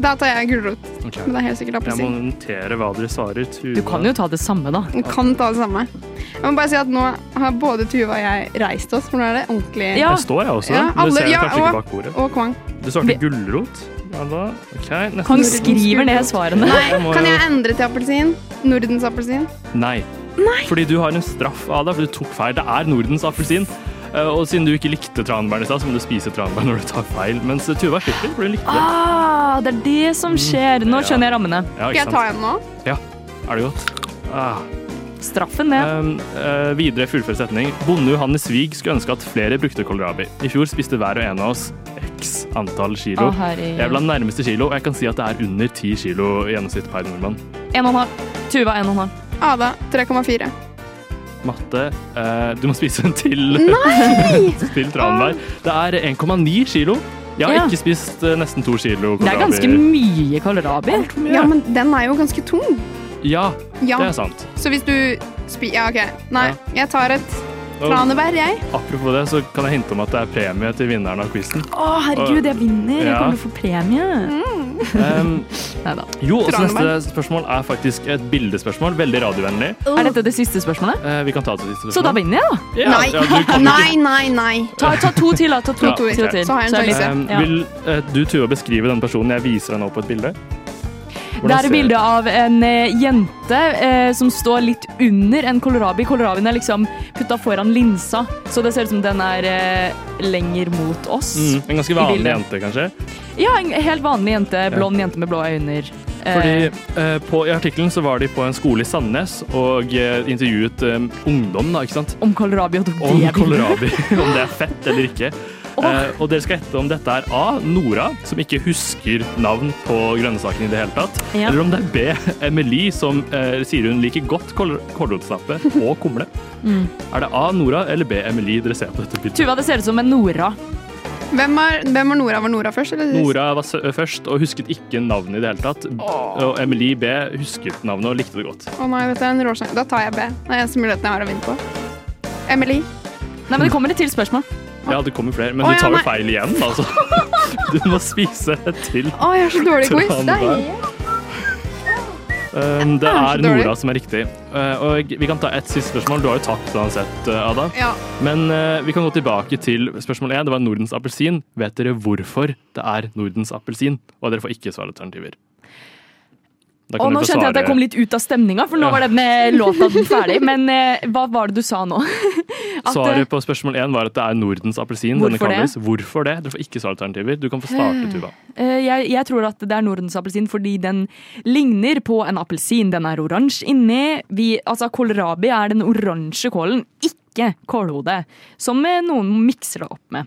[SPEAKER 3] Da tar jeg gulrot,
[SPEAKER 4] Ok.
[SPEAKER 3] men det er helt sikkert
[SPEAKER 4] Jeg må
[SPEAKER 3] appelsin.
[SPEAKER 4] notere hva dere svarer. Tuva.
[SPEAKER 2] Du kan jo ta det samme, da.
[SPEAKER 3] Du kan ta det samme. Jeg må bare si at nå har både Tuva og jeg reist oss, for nå er det ordentlig
[SPEAKER 2] Ja.
[SPEAKER 4] Jeg står, jeg også.
[SPEAKER 3] Ja,
[SPEAKER 4] men
[SPEAKER 3] alle-
[SPEAKER 4] du ser
[SPEAKER 3] ja,
[SPEAKER 4] kanskje
[SPEAKER 3] og-
[SPEAKER 4] ikke bak bordet.
[SPEAKER 3] og kvang.
[SPEAKER 4] Du svarte gulrot. Ja, da. Ok, neste.
[SPEAKER 2] Han skriver ned svarene.
[SPEAKER 3] Nei, kan jeg endre til appelsin? Nordens appelsin?
[SPEAKER 4] Nei. Fordi du har en straff, Ada, for du tok feil. Det er Nordens appelsin. Eh, Og siden du ikke likte tranbær i stad, så må du spise tranbær når du tar feil. Mens Tuva slipper, for hun likte det.
[SPEAKER 2] Ah, det er det som skjer. Nå skjønner jeg rammene.
[SPEAKER 4] Mm,
[SPEAKER 3] Skal
[SPEAKER 4] Ja, ikke
[SPEAKER 3] jeg ta
[SPEAKER 4] sant?
[SPEAKER 3] en nå?
[SPEAKER 4] Ja. Er det godt? Ah.
[SPEAKER 2] Straffen ned.
[SPEAKER 4] Um, eh, videre fullfør setning. Bonde Johannes Wiig skulle ønske at flere brukte kålrabi. I fjor spiste hver og en av oss x antall kilo.
[SPEAKER 2] Å, herregud.
[SPEAKER 4] jeg er blant nærmeste kilo, og jeg kan si at det er under ti kilo i gjennomsnitt per nordmann.
[SPEAKER 2] En og en halv. Tuva, en og en halv.
[SPEAKER 3] Ada 3,4.
[SPEAKER 4] Matte, eh, du må spise en til. eh, til tranbær. Det er 1,9 kilo. Jeg har
[SPEAKER 2] Ja.
[SPEAKER 4] ikke spist eh, nesten to kilo kålrabi.
[SPEAKER 2] Det er ganske mye kålrabi.
[SPEAKER 3] Ja, men den er jo ganske tung.
[SPEAKER 4] Ja, det
[SPEAKER 3] Ja,
[SPEAKER 4] er sant.
[SPEAKER 3] så hvis du spi... Ja, OK. Nei, jeg tar et
[SPEAKER 4] Og
[SPEAKER 3] tranebær, jeg.
[SPEAKER 4] apropos det, så kan jeg hinte om at det er premie til vinneren av quizen.
[SPEAKER 2] Å, herregud, jeg vinner. Jeg
[SPEAKER 4] Ja.
[SPEAKER 2] kommer til å få premie.
[SPEAKER 4] Um,
[SPEAKER 2] Neida.
[SPEAKER 4] jo, og så neste
[SPEAKER 3] Tranbær.
[SPEAKER 4] spørsmål er faktisk et bildespørsmål. Veldig radiovennlig.
[SPEAKER 2] Er dette det siste spørsmålet?
[SPEAKER 4] Eh, vi kan ta det siste
[SPEAKER 2] Så da
[SPEAKER 4] spørsmålet.
[SPEAKER 2] vinner jeg, da.
[SPEAKER 4] Ja,
[SPEAKER 3] Nei,
[SPEAKER 4] ja, du kan jo
[SPEAKER 3] nei,
[SPEAKER 4] ikke-
[SPEAKER 3] nei. nei.
[SPEAKER 2] Ta, ta to til, da. Ta to,
[SPEAKER 4] Ja,
[SPEAKER 2] to til.
[SPEAKER 4] ok.
[SPEAKER 2] til.
[SPEAKER 3] Så har jeg en
[SPEAKER 2] er det
[SPEAKER 3] sjanse.
[SPEAKER 2] litt-
[SPEAKER 4] Eh,
[SPEAKER 2] ja.
[SPEAKER 4] vil eh, du Tuva beskrive den personen jeg viser deg nå på et bilde?
[SPEAKER 2] Det
[SPEAKER 4] Hvordan
[SPEAKER 2] er
[SPEAKER 4] ser-
[SPEAKER 2] et bilde av en eh, jente eh, som står litt under en kålrabi. Kålrabien er liksom putta foran linsa, så det ser ut som den er eh, lenger mot oss.
[SPEAKER 4] Mm, en ganske
[SPEAKER 2] i
[SPEAKER 4] vanlig
[SPEAKER 2] bildet.
[SPEAKER 4] jente, kanskje.
[SPEAKER 2] Ja, en helt vanlig jente. Blond jente med blå øyne. Eh,
[SPEAKER 4] Fordi eh, på, I artikkelen så var de på en skole i Sandnes og eh, intervjuet eh, ungdom, da, ikke sant?
[SPEAKER 2] Om kålrabi og tok det
[SPEAKER 4] Om
[SPEAKER 2] bildet.
[SPEAKER 4] kålrabi, om det er fett eller ikke.
[SPEAKER 2] Åh.
[SPEAKER 4] Eh, og dere skal gjette om dette er A. Nora, som ikke husker navn på grønnsakene i det hele tatt.
[SPEAKER 2] Ja.
[SPEAKER 4] Eller om det er B. Emily, som eh, sier hun liker godt kål- kålrotstappe og kumle. Er det A. Nora eller B. Emily dere ser på dette bildet?
[SPEAKER 2] Mm. Tuva, det ser ut som en Nora.
[SPEAKER 3] Hvem var, hvem var Nora? Var Nora først? Eller?
[SPEAKER 4] Nora var sø- først og husket ikke navnet i det hele tatt. Og Emily B. husket navnet og likte det godt.
[SPEAKER 3] Å nei, dette er en råsjanse. Da tar jeg B. Det er eneste muligheten jeg har å vinne på. Emily.
[SPEAKER 2] Nei, men Det kommer et til spørsmål.
[SPEAKER 4] Ja, det kommer flere, men
[SPEAKER 3] Å,
[SPEAKER 4] du
[SPEAKER 3] ja,
[SPEAKER 4] tar jo
[SPEAKER 3] nei.
[SPEAKER 4] feil igjen, altså. Du må spise til.
[SPEAKER 3] Å, jeg har så dårlig quiz.
[SPEAKER 4] Tranbær.
[SPEAKER 3] Deilig.
[SPEAKER 4] Um, det
[SPEAKER 2] Ah,
[SPEAKER 3] er så
[SPEAKER 4] er
[SPEAKER 3] dårlig.
[SPEAKER 4] Nora som er riktig. Uh, og vi kan ta ett siste spørsmål. Du har jo tapt uansett, uh, Ada.
[SPEAKER 3] Ja.
[SPEAKER 4] Men uh, vi kan gå tilbake til spørsmål én. Det var Nordens appelsin. Vet dere hvorfor det er Nordens appelsin? Og dere får ikke svaralternativer. Da
[SPEAKER 2] Og
[SPEAKER 4] kan
[SPEAKER 2] nå
[SPEAKER 4] dere få
[SPEAKER 2] skjønte jeg at jeg
[SPEAKER 4] svare-
[SPEAKER 2] kom litt ut av stemninga, for nå
[SPEAKER 4] Ja.
[SPEAKER 2] var den eh, låta ferdig. Men eh, hva var det du sa nå? At, eh,
[SPEAKER 4] Svaret på spørsmål én var at det er Nordens appelsin. denne
[SPEAKER 2] Hvorfor det?
[SPEAKER 4] kalles. Hvorfor det? Dere får ikke svaralternativer. Du kan få starte, Tuva.
[SPEAKER 2] Eh, Jeg, jeg tror at det er Nordens appelsin fordi den ligner på en appelsin. Den er oransje inni. Vi, altså, kålrabi er den oransje kålen, ikke kålhodet. Som eh, noen mikser det opp med.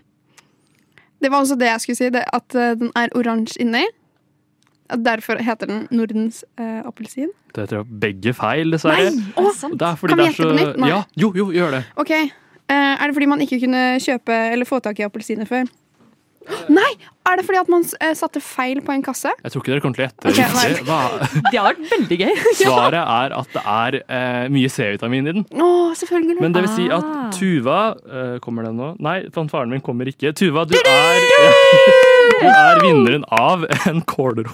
[SPEAKER 3] Det var også det jeg skulle si, det, at eh, den er oransje inni. At Derfor heter den Nordens eh, appelsin.
[SPEAKER 4] Det tror jeg begge feil, dessverre.
[SPEAKER 2] Å,
[SPEAKER 4] Det er fordi
[SPEAKER 3] Kan vi
[SPEAKER 4] det
[SPEAKER 3] gjette
[SPEAKER 4] er
[SPEAKER 3] på nytt?
[SPEAKER 4] så...
[SPEAKER 3] Nei.
[SPEAKER 4] Ja, jo, jo, gjør det.
[SPEAKER 3] Ok, eh, Er det fordi man ikke kunne kjøpe eller få tak i appelsiner før? Nei! Er det fordi at man eh, satte feil på en kasse?
[SPEAKER 4] Jeg tror ikke dere kommer til å gjette
[SPEAKER 3] Ok, nei.
[SPEAKER 4] riktig. Hva?
[SPEAKER 2] Det har vært veldig gøy.
[SPEAKER 4] Svaret er at det er eh, mye C-vitamin i den.
[SPEAKER 3] Å, selvfølgelig.
[SPEAKER 4] Men det vil si at
[SPEAKER 2] Ah.
[SPEAKER 4] Tuva eh, Kommer den nå? Nei, fanfaren min kommer ikke. Tuva, du er, du er vinneren av en kålrot.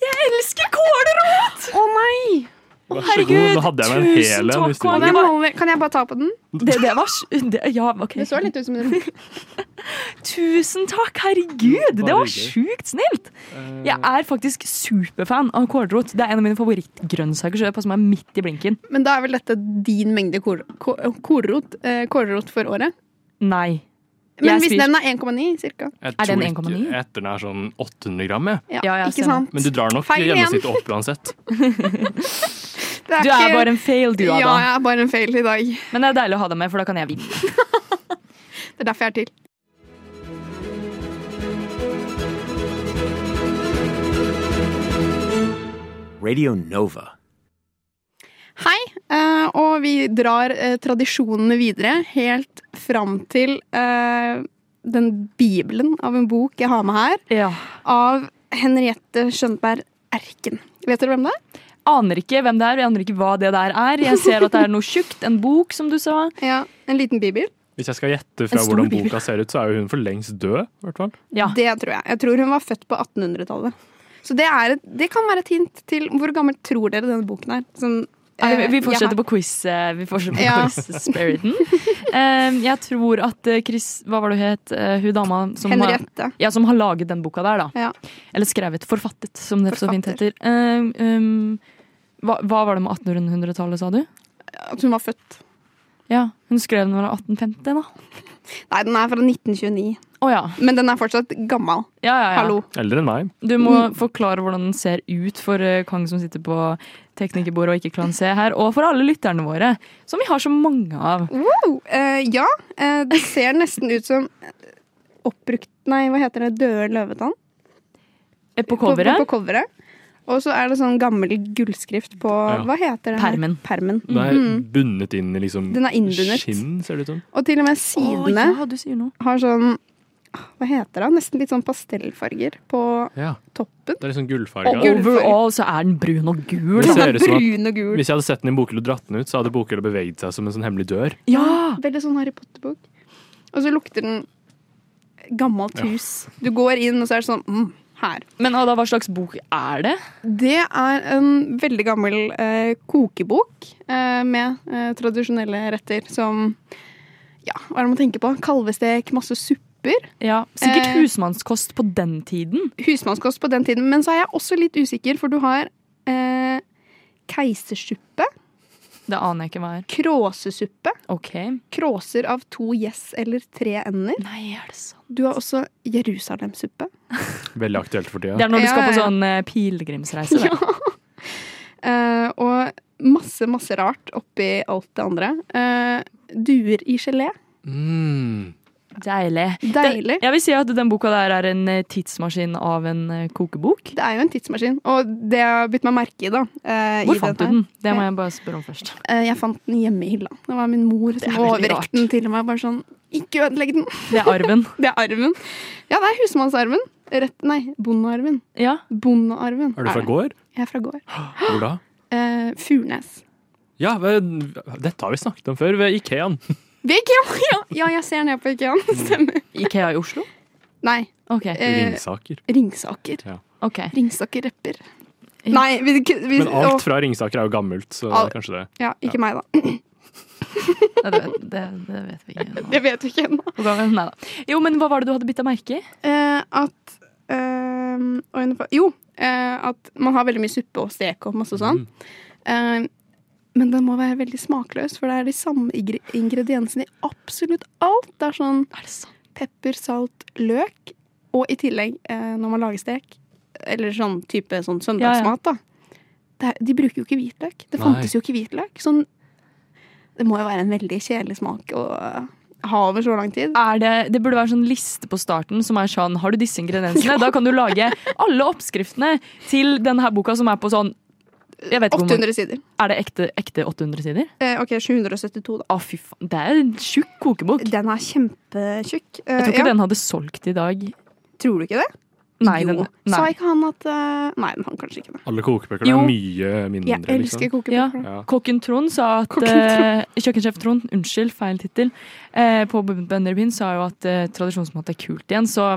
[SPEAKER 2] Jeg elsker kålrot!
[SPEAKER 3] Å nei!
[SPEAKER 4] Vær så god.
[SPEAKER 2] herregud,
[SPEAKER 4] Nå hadde jeg med en
[SPEAKER 2] tusen
[SPEAKER 4] hel en.
[SPEAKER 2] takk,
[SPEAKER 4] hvis
[SPEAKER 3] Å,
[SPEAKER 4] du-
[SPEAKER 3] den holder. Kan jeg bare ta på den?
[SPEAKER 2] Det, det var s- det, Ja, OK.
[SPEAKER 3] Det så litt ut som en rot.
[SPEAKER 2] Tusen takk, herregud! Det
[SPEAKER 4] Bare
[SPEAKER 2] var
[SPEAKER 4] hyggelig.
[SPEAKER 2] sjukt snilt!
[SPEAKER 4] Eh,
[SPEAKER 2] Jeg er faktisk superfan av kålrot. Det er en av mine favorittgrønnsaker, så det passer meg midt i blinken.
[SPEAKER 3] Men da er vel dette din mengde kor- ko- kålrot eh, kålrot for året?
[SPEAKER 2] Nei.
[SPEAKER 3] Men
[SPEAKER 2] Jeg
[SPEAKER 3] hvis
[SPEAKER 2] spiser-
[SPEAKER 3] den er 1,9 cirka.
[SPEAKER 4] Jeg
[SPEAKER 2] Er den
[SPEAKER 4] tror ikke-
[SPEAKER 2] 1,9?
[SPEAKER 4] Jeg etter den er sånn 800 gram, jeg.
[SPEAKER 3] Ja,
[SPEAKER 2] Ja, ja,
[SPEAKER 3] ikke
[SPEAKER 2] stemmer.
[SPEAKER 3] sant?
[SPEAKER 4] Men du drar nok
[SPEAKER 3] Feil igjen.
[SPEAKER 4] gjennomsnittet opp uansett.
[SPEAKER 3] Det
[SPEAKER 2] Du er bare en fail, du, Ada.
[SPEAKER 3] Ja, jeg er bare en fail i dag.
[SPEAKER 2] Men det er deilig å ha deg med, for da kan jeg vinne.
[SPEAKER 3] Det er derfor jeg er til.
[SPEAKER 10] Radio Nova.
[SPEAKER 3] Hei, eh, og vi drar eh, tradisjonene videre helt fram til eh, den bibelen av en bok jeg har med her,
[SPEAKER 2] Ja.
[SPEAKER 3] av Henriette Skjønberg Erken. Vet dere hvem det er?
[SPEAKER 2] Aner ikke hvem det er, og jeg aner ikke hva det der er. Jeg ser at det er noe tjukt, en bok, som du sa.
[SPEAKER 3] Ja, En liten bibel?
[SPEAKER 4] Hvis jeg skal gjette fra
[SPEAKER 2] En stor
[SPEAKER 4] hvordan
[SPEAKER 2] bibel.
[SPEAKER 4] boka ser ut, så er jo hun for lengst død. i hvert fall.
[SPEAKER 2] Ja.
[SPEAKER 3] Det tror jeg. Jeg tror hun var født på 1800-tallet. Så det, er et, det kan være et hint til hvor gammel tror dere denne boken er? Sånn
[SPEAKER 2] Nei, vi- vi
[SPEAKER 3] Eh,
[SPEAKER 2] fortsetter
[SPEAKER 3] jeg-
[SPEAKER 2] på quiz eh, Vi fortsetter på
[SPEAKER 3] Ja.
[SPEAKER 2] quiz-spiriten. Eh, jeg tror at eh, Chris Hva var det hun het? Eh, hun dama som
[SPEAKER 3] Henriette.
[SPEAKER 2] Har, ja, som har laget den boka der, da.
[SPEAKER 3] Ja.
[SPEAKER 2] Eller skrevet. Forfattet, som det så fint heter. Eh, um, hva, hva var det med 1800-tallet, sa du?
[SPEAKER 3] At hun var født.
[SPEAKER 2] Ja, Hun skrev den da 1850, da.
[SPEAKER 3] Nei, den er fra 1929. Men den er fortsatt gammel.
[SPEAKER 2] Ja, ja, ja.
[SPEAKER 3] Hallo.
[SPEAKER 4] Eldre enn meg.
[SPEAKER 2] Du må forklare hvordan den ser ut for eh, Kang som sitter på teknikerbordet og ikke Klan C her, og for alle lytterne våre, som vi har så mange av.
[SPEAKER 3] Wow! Eh, ja, eh, det ser nesten ut som oppbrukt Nei, hva heter det? Døde løvetann?
[SPEAKER 2] Eh, På coveret.
[SPEAKER 3] På, på coveret. Og så er det sånn gammel gullskrift på
[SPEAKER 4] Ja.
[SPEAKER 3] Hva heter det?
[SPEAKER 2] Permen.
[SPEAKER 3] Permen.
[SPEAKER 4] Den er
[SPEAKER 3] Mhm.
[SPEAKER 4] bundet inn i liksom
[SPEAKER 3] Den er innbundet.
[SPEAKER 4] skinn, ser det ut som.
[SPEAKER 3] Og til og med sidene
[SPEAKER 2] Å, ja, du sier noe.
[SPEAKER 3] har sånn Hva heter det? Nesten litt sånn pastellfarger på
[SPEAKER 4] Ja.
[SPEAKER 3] toppen.
[SPEAKER 4] Det er litt sånn gullfarga.
[SPEAKER 2] Og overall så er den brun og gul.
[SPEAKER 4] Det ser ut som at
[SPEAKER 3] Brun og gul.
[SPEAKER 4] Hvis jeg hadde sett den i en bokhylle og dratt den ut, så hadde bokhylla beveget seg som en sånn hemmelig dør.
[SPEAKER 2] Ja!
[SPEAKER 3] Veldig sånn Harry Potter-bok. Og så lukter den gammelt hus. Du går inn, og så er det sånn mm, her.
[SPEAKER 2] Men Ada, hva slags bok er det?
[SPEAKER 3] Det er en veldig gammel eh, kokebok eh, med eh, tradisjonelle retter som Ja, hva er det man tenker på? Kalvestek, masse supper.
[SPEAKER 2] Ja, Sikkert
[SPEAKER 3] Eh.
[SPEAKER 2] husmannskost på den tiden.
[SPEAKER 3] Husmannskost på den tiden. Men så er jeg også litt usikker, for du har eh, keisersuppe,
[SPEAKER 2] Det aner jeg ikke hva er.
[SPEAKER 3] kråsesuppe,
[SPEAKER 2] Ok.
[SPEAKER 3] kråser av to gjess eller tre ender.
[SPEAKER 2] Nei, er det sånn?
[SPEAKER 3] Du har også Jerusalemsuppe.
[SPEAKER 4] Veldig aktuelt for
[SPEAKER 2] Det
[SPEAKER 4] tida.
[SPEAKER 2] er når du
[SPEAKER 3] Ja,
[SPEAKER 2] skal på
[SPEAKER 3] ja, ja.
[SPEAKER 2] sånn eh, pilegrimsreise. det.
[SPEAKER 3] Eh, og masse, masse rart oppi alt det andre. Eh, duer i gelé.
[SPEAKER 4] Mm.
[SPEAKER 2] Deilig.
[SPEAKER 3] Deilig.
[SPEAKER 2] Den, jeg vil si at den boka der er en eh, tidsmaskin av en eh, kokebok.
[SPEAKER 3] Det er jo en tidsmaskin, og det jeg har bitt meg merke i, da eh, i
[SPEAKER 2] Hvor fant du
[SPEAKER 3] dette her.
[SPEAKER 2] den? Det må jeg bare spørre om først.
[SPEAKER 3] Eh, Jeg fant den hjemme i hylla. Det var min mor
[SPEAKER 2] er
[SPEAKER 3] som
[SPEAKER 2] veldig
[SPEAKER 3] overrekte
[SPEAKER 2] rart.
[SPEAKER 3] den til meg. Bare sånn Ikke ødelegg den!
[SPEAKER 2] Det er arven.
[SPEAKER 3] Det er arven. Ja, det er husmannsarven. Rett, nei, bondearven.
[SPEAKER 2] Ja.
[SPEAKER 3] Bondearven.
[SPEAKER 4] Er du fra
[SPEAKER 3] det.
[SPEAKER 4] gård?
[SPEAKER 3] Jeg er fra gård.
[SPEAKER 4] Hvor da?
[SPEAKER 3] Eh, Furnes.
[SPEAKER 4] Ja, men dette har vi snakket om før, ved Ikeaen.
[SPEAKER 3] Ved Ikea! Ja, ja, jeg ser ned på Ikeaen. Stemmer.
[SPEAKER 2] Ikea i Oslo?
[SPEAKER 3] Nei,
[SPEAKER 2] Ok.
[SPEAKER 3] eh,
[SPEAKER 4] Ringsaker.
[SPEAKER 3] Ringsaker.
[SPEAKER 2] ok.
[SPEAKER 3] Ringsaker repper.
[SPEAKER 2] Ja.
[SPEAKER 3] Nei, vi, vi,
[SPEAKER 4] Men alt
[SPEAKER 3] å,
[SPEAKER 4] fra Ringsaker er jo gammelt, så
[SPEAKER 3] Alt.
[SPEAKER 4] kanskje det.
[SPEAKER 3] ja, Ikke meg, da.
[SPEAKER 2] Ja, Det, vet- det, det vet vi ikke. nå.
[SPEAKER 3] Det vet vi ikke ennå.
[SPEAKER 2] Hvor gammel- Nei da. Jo, men hva var det du hadde bitt deg merke i?
[SPEAKER 3] Eh, at eh, oi, nå fa- Jo, eh, at man har veldig mye suppe og stek og masse sånn.
[SPEAKER 4] Mm.
[SPEAKER 3] Eh, men den må være veldig smakløs, for det er de samme ingre- ingrediensene i absolutt alt. Det er sånn
[SPEAKER 2] Er det sant?
[SPEAKER 3] pepper, salt, løk, og i tillegg, eh, når man lager stek, eller sånn type sånn
[SPEAKER 2] Ja, ja.
[SPEAKER 3] søndagsmat, da. Det er, de bruker jo ikke hvitløk. Det
[SPEAKER 4] Nei.
[SPEAKER 3] fantes jo ikke hvitløk. Sånn, det må jo være en veldig kjedelig smak å ha over så lang tid.
[SPEAKER 2] er det, det burde være en sånn liste på starten som er sånn Har du disse ingrediensene? Da kan du lage alle oppskriftene til denne her boka som er på sånn jeg vet ikke hvor mange-
[SPEAKER 3] 800 sider.
[SPEAKER 2] Er det ekte, ekte 800 sider?
[SPEAKER 3] Eh, OK, 772, da.
[SPEAKER 2] Å, fy faen. Det er en tjukk kokebok. Jeg
[SPEAKER 3] Den er kjempetjukk. Eh,
[SPEAKER 2] tror ikke
[SPEAKER 3] ja.
[SPEAKER 2] den hadde solgt i dag.
[SPEAKER 3] Tror du ikke det?
[SPEAKER 2] Nei,
[SPEAKER 3] jo.
[SPEAKER 2] den,
[SPEAKER 3] Sa
[SPEAKER 2] nei.
[SPEAKER 3] ikke han at eh, Nei, men han kanskje ikke det.
[SPEAKER 4] Alle kokebøkene
[SPEAKER 2] Jo.
[SPEAKER 4] er mye mindre,
[SPEAKER 3] Jeg elsker
[SPEAKER 4] liksom.
[SPEAKER 2] Ja.
[SPEAKER 3] kokebøker.
[SPEAKER 4] Ja.
[SPEAKER 2] Kokken Trond sa at eh, Kjøkkensjef Trond, unnskyld, feil tittel, eh, på Bønderbyen sa jo at eh, tradisjonsmat er kult igjen, så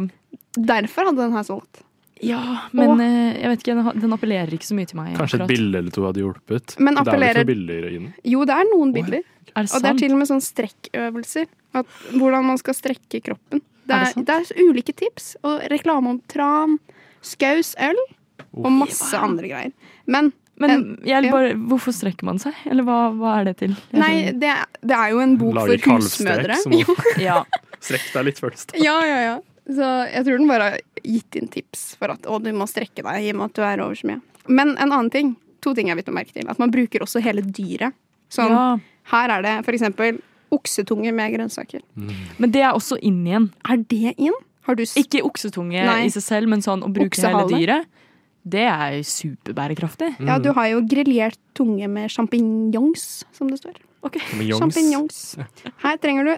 [SPEAKER 3] Derfor hadde den her solgt.
[SPEAKER 2] ja, men eh, jeg vet ikke, den, har- den appellerer ikke så mye til meg.
[SPEAKER 4] Kanskje et
[SPEAKER 2] akkurat.
[SPEAKER 4] bilde eller to hadde hjulpet.
[SPEAKER 3] Men
[SPEAKER 4] Det liksom er
[SPEAKER 3] appellerer-
[SPEAKER 4] vel ikke noen bilder i den.
[SPEAKER 3] Jo, det er noen bilder.
[SPEAKER 2] Er det
[SPEAKER 3] Og det er
[SPEAKER 2] sant?
[SPEAKER 3] til og med sånn strekkøvelser. At, hvordan man skal strekke kroppen. Det
[SPEAKER 2] Er
[SPEAKER 3] er,
[SPEAKER 2] det sant?
[SPEAKER 3] det er ulike tips. Og reklame om tran, skaus, øl og masse andre greier. Men
[SPEAKER 2] Men jeg
[SPEAKER 3] ja.
[SPEAKER 2] bare, hvorfor strekker man seg? Eller hva, hva er det til? Jeg
[SPEAKER 3] nei, det, er- det er jo en bok
[SPEAKER 4] Lager
[SPEAKER 3] for
[SPEAKER 4] kalvstek
[SPEAKER 3] husmødre.
[SPEAKER 4] som må
[SPEAKER 2] skjønner- ja.
[SPEAKER 4] strekke deg litt først.
[SPEAKER 3] Ja, ja, ja. Så jeg tror den bare har gitt inn tips for at å, du må strekke deg i og med at du er over så mye. Men en annen ting, to ting jeg har bitt meg merke til, at man bruker også hele dyret. Sånn,
[SPEAKER 2] ja.
[SPEAKER 3] her er det for eksempel oksetunge med grønnsaker.
[SPEAKER 2] Men det er også inn igjen.
[SPEAKER 3] Er det inn? Har du s-
[SPEAKER 2] Ikke oksetunge
[SPEAKER 3] Nei.
[SPEAKER 2] i seg selv, men sånn å bruke
[SPEAKER 3] Oksehale.
[SPEAKER 2] hele dyret. Det er jo superbærekraftig.
[SPEAKER 3] Ja, du har jo grillert tunge med champignons, som det står.
[SPEAKER 4] Med jongs.
[SPEAKER 3] Champignons. Her trenger du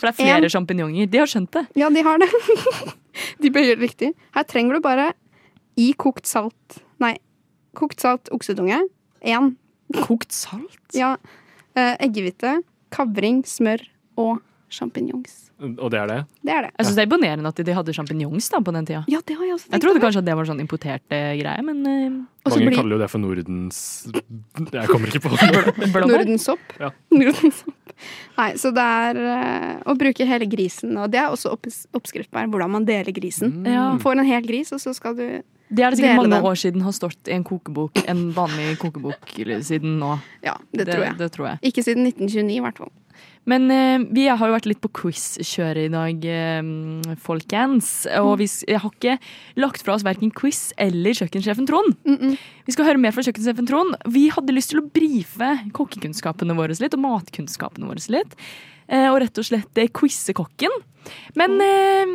[SPEAKER 2] For det er flere
[SPEAKER 3] En-
[SPEAKER 2] sjampinjonger. De har skjønt det.
[SPEAKER 3] Ja, de har det. de bøyer det riktig. Her trenger du bare i kokt salt Nei, kokt salt oksetunge. Én
[SPEAKER 2] Kokt salt?
[SPEAKER 3] Ja. Eh, eggehvite, kavring, smør og sjampinjongs.
[SPEAKER 4] Og det er det?
[SPEAKER 3] Det er det.
[SPEAKER 2] Jeg syns det er imponerende at de hadde sjampinjongs på den tida.
[SPEAKER 3] Ja, det har jeg også
[SPEAKER 2] Jeg trodde kanskje at det var sånn importert eh, greie, men eh,
[SPEAKER 3] Og så
[SPEAKER 4] Mange
[SPEAKER 3] blir-
[SPEAKER 4] kaller jo det for Nordens Jeg kommer ikke på det.
[SPEAKER 2] blåbær.
[SPEAKER 3] Nordensopp.
[SPEAKER 4] Ja.
[SPEAKER 3] Nordensopp. Nei, så det er eh, å bruke hele grisen, og det er også opps- oppskrift på hvordan man deler grisen.
[SPEAKER 2] Ja.
[SPEAKER 3] Får en hel gris, og så skal du
[SPEAKER 2] Det er det sikkert
[SPEAKER 3] Dele
[SPEAKER 2] mange
[SPEAKER 3] den.
[SPEAKER 2] år siden har stått i en kokebok, en vanlig kokebok eller siden nå.
[SPEAKER 3] Ja, det, tror jeg.
[SPEAKER 2] Det tror jeg.
[SPEAKER 3] Ikke siden 1929, i hvert fall.
[SPEAKER 2] Men eh, vi har jo vært litt på quiz-kjøret i dag, eh, folkens. Og vi s- jeg har ikke lagt fra oss verken quiz eller kjøkkensjefen Trond. Vi skal høre mer fra kjøkkensjefen Trond. Vi hadde lyst til å brife kokkekunnskapene våre litt, og matkunnskapene våre litt. eh, Og rett og slett eh, quize kokken. Men eh,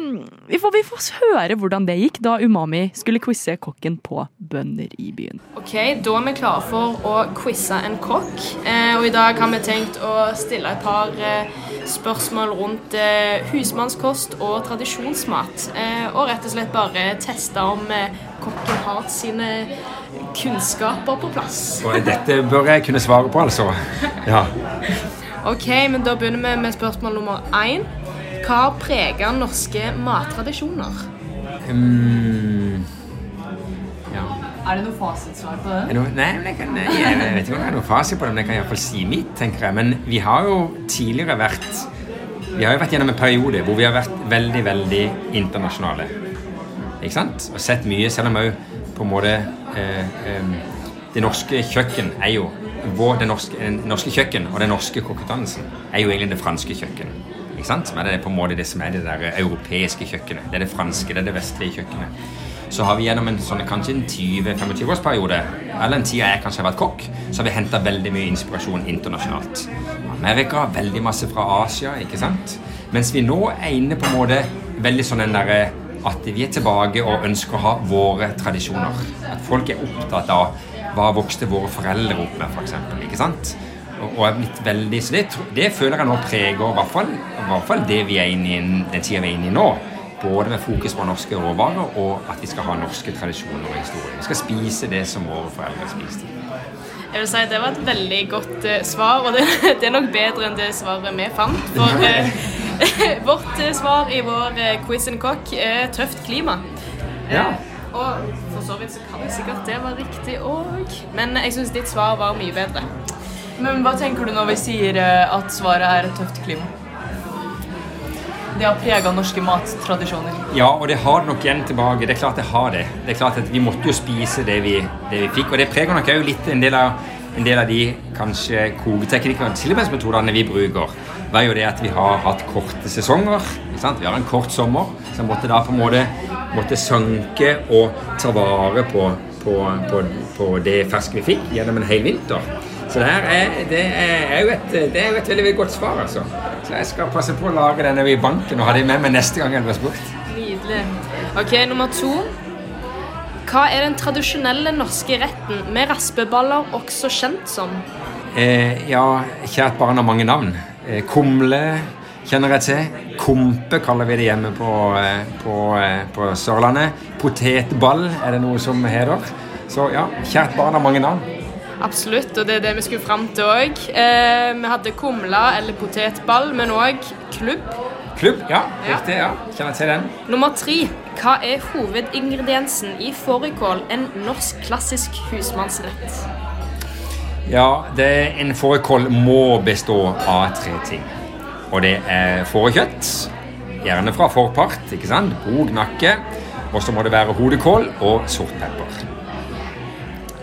[SPEAKER 2] vi, får, vi får høre hvordan det gikk da Umami skulle quize kokken på bønder i byen.
[SPEAKER 9] Ok, Da er vi klare for å quize en kokk. Eh, og I dag har vi tenkt å stille et par eh, spørsmål rundt eh, husmannskost og tradisjonsmat. Eh, og rett og slett bare teste om eh, kokken har sine kunnskaper på plass.
[SPEAKER 8] Og dette bør jeg kunne svare på, altså. Ja.
[SPEAKER 9] Ok, men Da begynner vi med spørsmål nummer én. Hva preger norske mattradisjoner?
[SPEAKER 8] Mm. ja.
[SPEAKER 9] Er det noe fasitsvar på
[SPEAKER 8] Er det noe- Nei, men jeg, kan, nei, jeg vet ikke om det er noe fasit på det, men jeg kan iallfall si mitt, tenker jeg. Men vi har jo tidligere vært Vi har jo vært gjennom en periode hvor vi har vært veldig, veldig internasjonale. Ikke sant? Og sett mye, selv om òg på en måte eh, em, Det norske kjøkken er jo vår, det norske, det norske kjøkken og den norske kokkedannelsen er jo egentlig det franske kjøkken. Ikke sant? Men det er på en måte det som er det der europeiske kjøkkenet. Det er det franske, det er det vestlige kjøkkenet så har vi gjennom en sånn, kanskje en 20-25 årsperiode, eller en tid jeg kanskje har vært kokk, så har vi henta veldig mye inspirasjon internasjonalt. Amerika, veldig masse fra Asia, ikke sant? Mens vi nå er inne på en måte veldig sånn den derre at vi er tilbake og ønsker å ha våre tradisjoner. At folk er opptatt av hva vokste våre foreldre opp med, f.eks. Ikke sant? Og, og er blitt veldig, så det, tro- det føler jeg nå preger i hvert fall, i hvert fall det vi er inne i, den tida vi er inne i nå. Både med fokus på norske råvarer og at vi skal ha norske tradisjoner og historie. Vi skal spise det som våre foreldre spiste.
[SPEAKER 9] Jeg vil si Det var et veldig godt eh, svar, og det, det er nok bedre enn det svaret vi fant. For eh, vårt eh, svar i vår eh, quiz and cock er tøft klima. Eh,
[SPEAKER 8] Ja.
[SPEAKER 9] Og for så vidt så kan jo sikkert det være riktig òg, men jeg syns ditt svar var mye bedre. Men hva tenker du når vi sier
[SPEAKER 11] eh,
[SPEAKER 9] at svaret er et tøft klima? Det har prega norske mattradisjoner.
[SPEAKER 8] Ja, og det har det nok igjen tilbake. Det er klart det har det. Det er klart at Vi måtte jo spise det vi, det vi fikk. Og det preger nok òg litt en del av, en del av de kanskje koketeknikkene og tilbehørsmetodene vi bruker. Det er jo det at vi har hatt korte sesonger. Ikke sant? Vi har en kort sommer, så jeg måtte da på en måte måtte sanke og ta vare på, på, på, på det ferske vi fikk gjennom en hel vinter. Så det her er, det er, er jo et, det er jo et veldig, veldig godt svar, altså. Så jeg skal passe på å lage denne i banken og ha det med meg neste gang jeg blir spurt.
[SPEAKER 9] Nydelig. Ok, nummer to. Hva er den tradisjonelle norske retten med raspeballer også kjent som?
[SPEAKER 8] Eh, ja, kjært barn har mange navn. Eh, kumle kjenner jeg til. Kompe kaller vi det hjemme på, eh, på, eh, på Sørlandet. Potetball er det noe som heter. Så ja, kjært barn har mange navn.
[SPEAKER 9] Absolutt, og det er det vi skulle fram til òg. Eh, vi hadde kumle eller potetball, men òg klubb.
[SPEAKER 8] Klubb, ja.
[SPEAKER 9] Ja.
[SPEAKER 8] Riktig, ja. Kjenner til den.
[SPEAKER 9] Nummer tre. Hva er hovedingrediensen i fårikål, en norsk klassisk husmannsrett?
[SPEAKER 8] Ja, det, en fårikål må bestå av tre ting. Og det er fårekjøtt, gjerne fra forpart, ikke sant? Brog nakke. Og så må det være hodekål og sortpepper.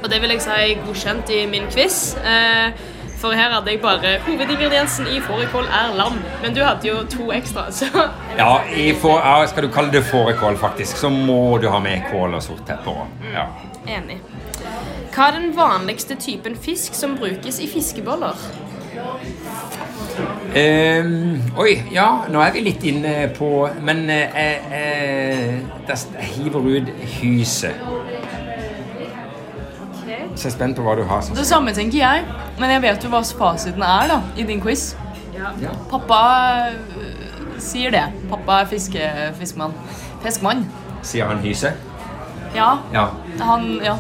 [SPEAKER 9] Og det vil jeg si godkjent i min quiz. Eh, for her hadde jeg bare hovedingrediensen i fårikål er lam. Men du hadde jo to ekstra, så
[SPEAKER 8] Ja, i får- ja, skal du kalle det fårekål, faktisk, så må du ha med kål og sortpepper. også. Ja.
[SPEAKER 9] enig. Hva er den vanligste typen fisk som brukes i fiskeboller?
[SPEAKER 8] Ehm, oi, ja, nå er vi litt inne på Men eh, eh, der st- jeg hiver ut hyse. Så jeg er spent på hva du har. som-
[SPEAKER 11] Det samme tenker jeg, men jeg vet jo hva fasiten er da, i din quiz.
[SPEAKER 8] Ja.
[SPEAKER 11] Pappa øh, sier det. Pappa er fiske, fiskemann. Fiskemann?
[SPEAKER 8] Sier han hyse?
[SPEAKER 11] Ja.
[SPEAKER 8] Ja.
[SPEAKER 11] Han, ja.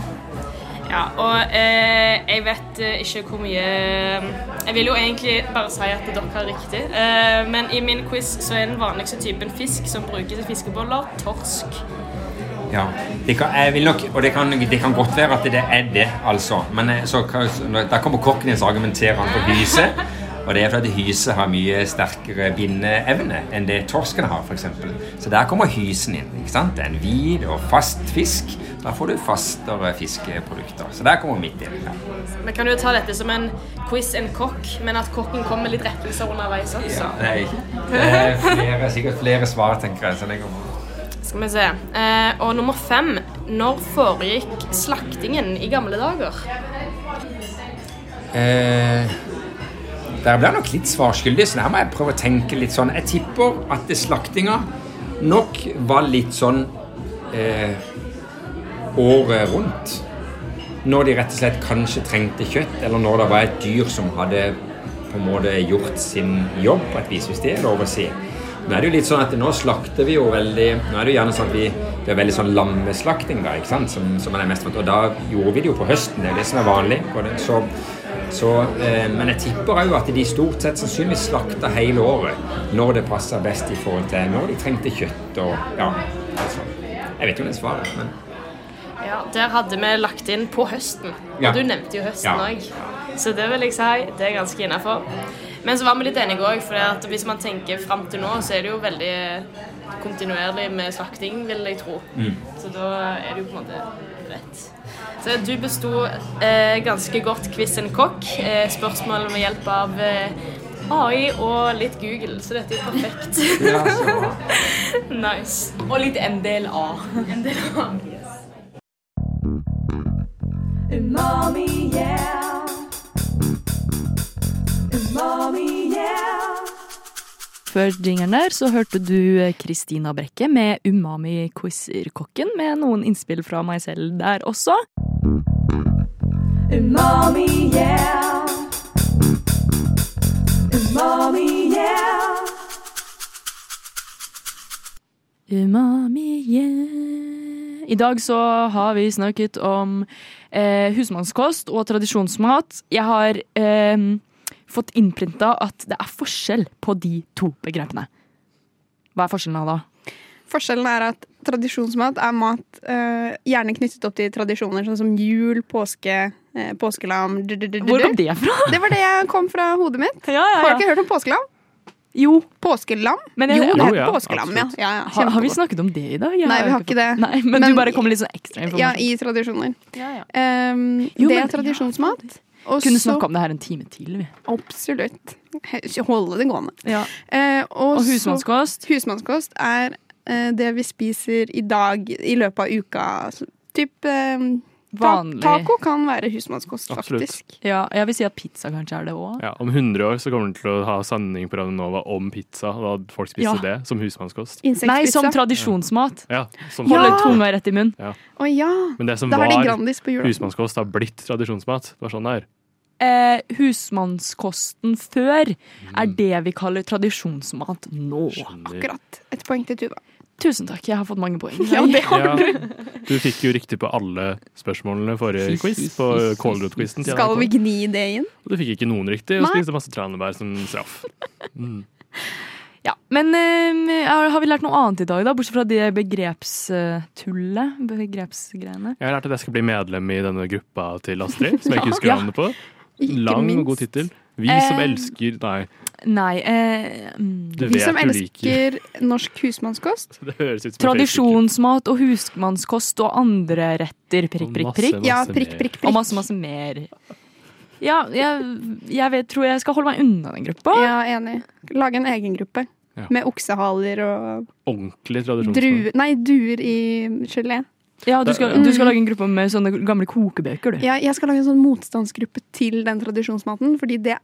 [SPEAKER 9] Ja, og eh, jeg vet eh, ikke hvor mye Eh, Jeg vil jo egentlig bare si at dere har riktig, eh, men i min quiz så er den vanligste typen fisk som brukes i fiskeboller, torsk.
[SPEAKER 8] Ja. Det kan, jeg vil nok, og det kan, det kan godt være at det er det, altså. Men eh, så, kan- da kommer kokken din og argumenterer han for hyse. Og det er fordi at hyse har mye sterkere bindeevne enn det torsken har, f.eks. Så der kommer hysen inn. ikke sant? Det er en hvit og fast fisk. Da får du fastere fiskeprodukter. Så der kommer mitt inn. Ja.
[SPEAKER 9] Vi kan jo ta dette som en quiz en kokk, men at kokken kommer med litt rettelser underveis også.
[SPEAKER 8] Nei, det er flere, sikkert flere svar, tenker jeg. Så det kommer.
[SPEAKER 9] Skal vi se. Eh, og nummer fem. Når foregikk slaktingen i gamle dager?
[SPEAKER 8] Eh, der ble jeg nok litt svarskyldig, så der må jeg prøve å tenke litt sånn. Jeg tipper at det slaktinga nok var litt sånn eh, året rundt. Når de rett og slett kanskje trengte kjøtt, eller når det var et dyr som hadde på en måte gjort sin jobb på et vis, hvis det er lov å si. Nå er det jo litt sånn at nå slakter vi jo veldig Nå er det jo gjerne sånn at vi Det er veldig sånn lammeslakting, da, ikke sant, som, som er det mest vant. Og da gjorde vi det jo på høsten, det er jo det som er vanlig. Og det, så, så, eh, men jeg tipper òg at de stort sett sannsynligvis slakta hele året når det passer best i forhold til når de trengte kjøtt og Ja. Altså, jeg vet jo det er svaret, men
[SPEAKER 9] Ja, Der hadde vi lagt inn på høsten. Og
[SPEAKER 8] Ja.
[SPEAKER 9] du nevnte jo høsten
[SPEAKER 8] Ja.
[SPEAKER 9] òg. Så det vil jeg si, det er ganske innafor. Men så var vi litt enige òg, for hvis man tenker fram til nå, så er det jo veldig kontinuerlig med slakting, vil jeg tro.
[SPEAKER 12] Mm.
[SPEAKER 9] Så da er det jo på en måte rett. Så du besto eh, ganske godt quiz en kokk. Eh, spørsmål med hjelp av eh, AI og litt Google, så dette er jo perfekt.
[SPEAKER 8] Ja, så
[SPEAKER 9] nice.
[SPEAKER 11] Og litt NDLA.
[SPEAKER 9] NDLA.
[SPEAKER 12] Umami, yeah. Umami, yeah.
[SPEAKER 2] Før jingeren der så hørte du eh, Kristina Brekke med Umami-quizer-kokken, med noen innspill fra meg selv der også.
[SPEAKER 12] Umami, yeah. Umami, yeah.
[SPEAKER 2] Umami, yeah. I dag så har vi snakket om eh, husmannskost og tradisjonsmat. Jeg har eh, fått innprinta at det er forskjell på de to begrepene. Hva er forskjellen da?
[SPEAKER 3] Forskjellen er at tradisjonsmat er mat eh, gjerne knyttet opp til tradisjoner, sånn som jul, påske, eh, påskelam du, du, du, du,
[SPEAKER 2] Hvor
[SPEAKER 3] du.
[SPEAKER 2] kom det fra?
[SPEAKER 3] Det var det jeg kom fra hodet mitt.
[SPEAKER 2] ja,
[SPEAKER 3] Har
[SPEAKER 2] ja.
[SPEAKER 3] du ikke hørt om påskelam?
[SPEAKER 2] Jo.
[SPEAKER 3] Påskelam?
[SPEAKER 2] Men jeg-
[SPEAKER 3] jo, det
[SPEAKER 2] Jo,
[SPEAKER 3] heter
[SPEAKER 2] ja,
[SPEAKER 3] påskelam, ja.
[SPEAKER 2] absolutt.
[SPEAKER 3] ja, ja.
[SPEAKER 2] Har, har vi
[SPEAKER 3] Kjempegodt.
[SPEAKER 2] snakket om det i dag? Jeg
[SPEAKER 3] Nei, vi har
[SPEAKER 2] fått-
[SPEAKER 3] ikke det.
[SPEAKER 2] Nei, men,
[SPEAKER 3] Men
[SPEAKER 2] du bare
[SPEAKER 3] i-
[SPEAKER 2] kom med litt sånn ekstra informasjon.
[SPEAKER 3] Ja, i tradisjoner. Um,
[SPEAKER 2] Jo,
[SPEAKER 3] det
[SPEAKER 2] men-
[SPEAKER 3] er tradisjonsmat.
[SPEAKER 2] Vi
[SPEAKER 3] og
[SPEAKER 2] kunne
[SPEAKER 3] så-
[SPEAKER 2] snakke om det her en time til. Vi.
[SPEAKER 3] Absolutt. He- Holde det gående.
[SPEAKER 2] Ja.
[SPEAKER 3] Eh, og,
[SPEAKER 2] Og husmannskost?
[SPEAKER 3] Så, husmannskost er eh, det vi spiser i dag i løpet av uka. Så, typ eh, ta
[SPEAKER 2] Vanlig.
[SPEAKER 3] Taco kan være husmannskost,
[SPEAKER 4] Absolutt.
[SPEAKER 3] faktisk.
[SPEAKER 2] Ja, jeg vil si at pizza kanskje er det òg.
[SPEAKER 4] Ja, om 100 år så kommer den til å ha sending på Radio Nova om pizza. Da folk spiser
[SPEAKER 2] Ja.
[SPEAKER 4] det som husmannskost.
[SPEAKER 2] Nei,
[SPEAKER 3] sånn
[SPEAKER 2] som tradisjonsmat.
[SPEAKER 4] Ja, som
[SPEAKER 2] Holde tunga rett i munnen.
[SPEAKER 4] Ja.
[SPEAKER 3] Å ja!
[SPEAKER 4] Men det som
[SPEAKER 3] Da har de
[SPEAKER 4] var
[SPEAKER 3] Grandis på jula.
[SPEAKER 4] husmannskost, har blitt tradisjonsmat. Det var sånn det er.
[SPEAKER 2] Eh, husmannskosten før er det vi kaller tradisjonsmat nå.
[SPEAKER 3] Akkurat. Et poeng til Tuva.
[SPEAKER 2] Tusen takk, jeg har fått mange poeng.
[SPEAKER 3] Ja, det har
[SPEAKER 4] Ja.
[SPEAKER 3] du.
[SPEAKER 4] Du fikk jo riktig på alle spørsmålene forrige quiz, på kålrotquizen. til
[SPEAKER 3] Skal
[SPEAKER 4] NRK.
[SPEAKER 3] vi gni det inn?
[SPEAKER 4] Og du fikk ikke noen riktig, og
[SPEAKER 3] Nei.
[SPEAKER 4] spiste masse tranebær som straff. Mm.
[SPEAKER 2] Ja, Men eh, har har vi lært noe annet i dag, da? Bortsett fra det begrepstullet. Begrepsgreiene.
[SPEAKER 4] Jeg har lært at jeg skal bli medlem i denne gruppa til Astrid, som jeg ikke husker
[SPEAKER 2] Ja.
[SPEAKER 4] navnet på.
[SPEAKER 2] Ikke
[SPEAKER 4] Lang
[SPEAKER 2] minst.
[SPEAKER 4] og god tittel. Vi som
[SPEAKER 2] Eh,
[SPEAKER 4] elsker Nei,
[SPEAKER 2] Nei eh, mm.
[SPEAKER 4] Du
[SPEAKER 3] Vi
[SPEAKER 4] vet
[SPEAKER 3] som
[SPEAKER 4] du liker
[SPEAKER 3] elsker norsk husmannskost.
[SPEAKER 4] det høres ut som en
[SPEAKER 2] Tradisjonsmat og husmannskost og andre retter. Prikk, prikk,
[SPEAKER 4] masse,
[SPEAKER 2] prikk.
[SPEAKER 4] masse Ja, prikk, mer. prikk, prikk.
[SPEAKER 2] Og masse, masse mer. Ja, jeg, jeg vet, tror jeg skal holde meg unna den gruppa.
[SPEAKER 3] Ja, enig. Lage en egen gruppe.
[SPEAKER 4] Ja.
[SPEAKER 3] Med oksehaler og
[SPEAKER 4] ordentlig tradisjonsmat.
[SPEAKER 3] druer Nei, duer i gelé.
[SPEAKER 2] Ja, du skal, du skal lage en gruppe med sånne gamle kokebøker, du.
[SPEAKER 3] Mm. Ja, jeg skal lage en sånn motstandsgruppe til den tradisjonsmaten, fordi det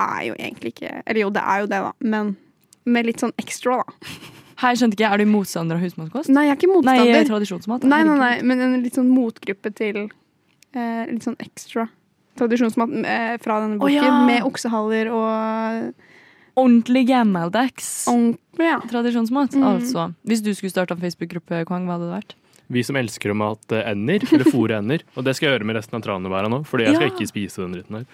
[SPEAKER 3] er jo egentlig ikke Eller jo, det er jo det, da, men med litt sånn ekstra, da.
[SPEAKER 2] Her skjønte ikke jeg, Er du motstander av husmannskost?
[SPEAKER 3] Nei, jeg er ikke motstander.
[SPEAKER 2] Nei, tradisjonsmat.
[SPEAKER 3] Nei, nei, nei, men en litt sånn motgruppe til eh, litt sånn ekstra tradisjonsmat eh, fra denne
[SPEAKER 2] Å,
[SPEAKER 3] boken,
[SPEAKER 2] ja.
[SPEAKER 3] med oksehaller og
[SPEAKER 2] Ordentlig gammeldags
[SPEAKER 3] ja.
[SPEAKER 2] tradisjonsmat,
[SPEAKER 3] Mm.
[SPEAKER 2] altså. Hvis du skulle starta en Facebook-gruppe, Kwang, hva hadde det vært?
[SPEAKER 4] Vi som elsker å mate ender, eller fôre ender. Og det skal jeg gjøre med resten av tranebæra nå, fordi jeg skal
[SPEAKER 2] Ja.
[SPEAKER 4] ikke spise den dritten her.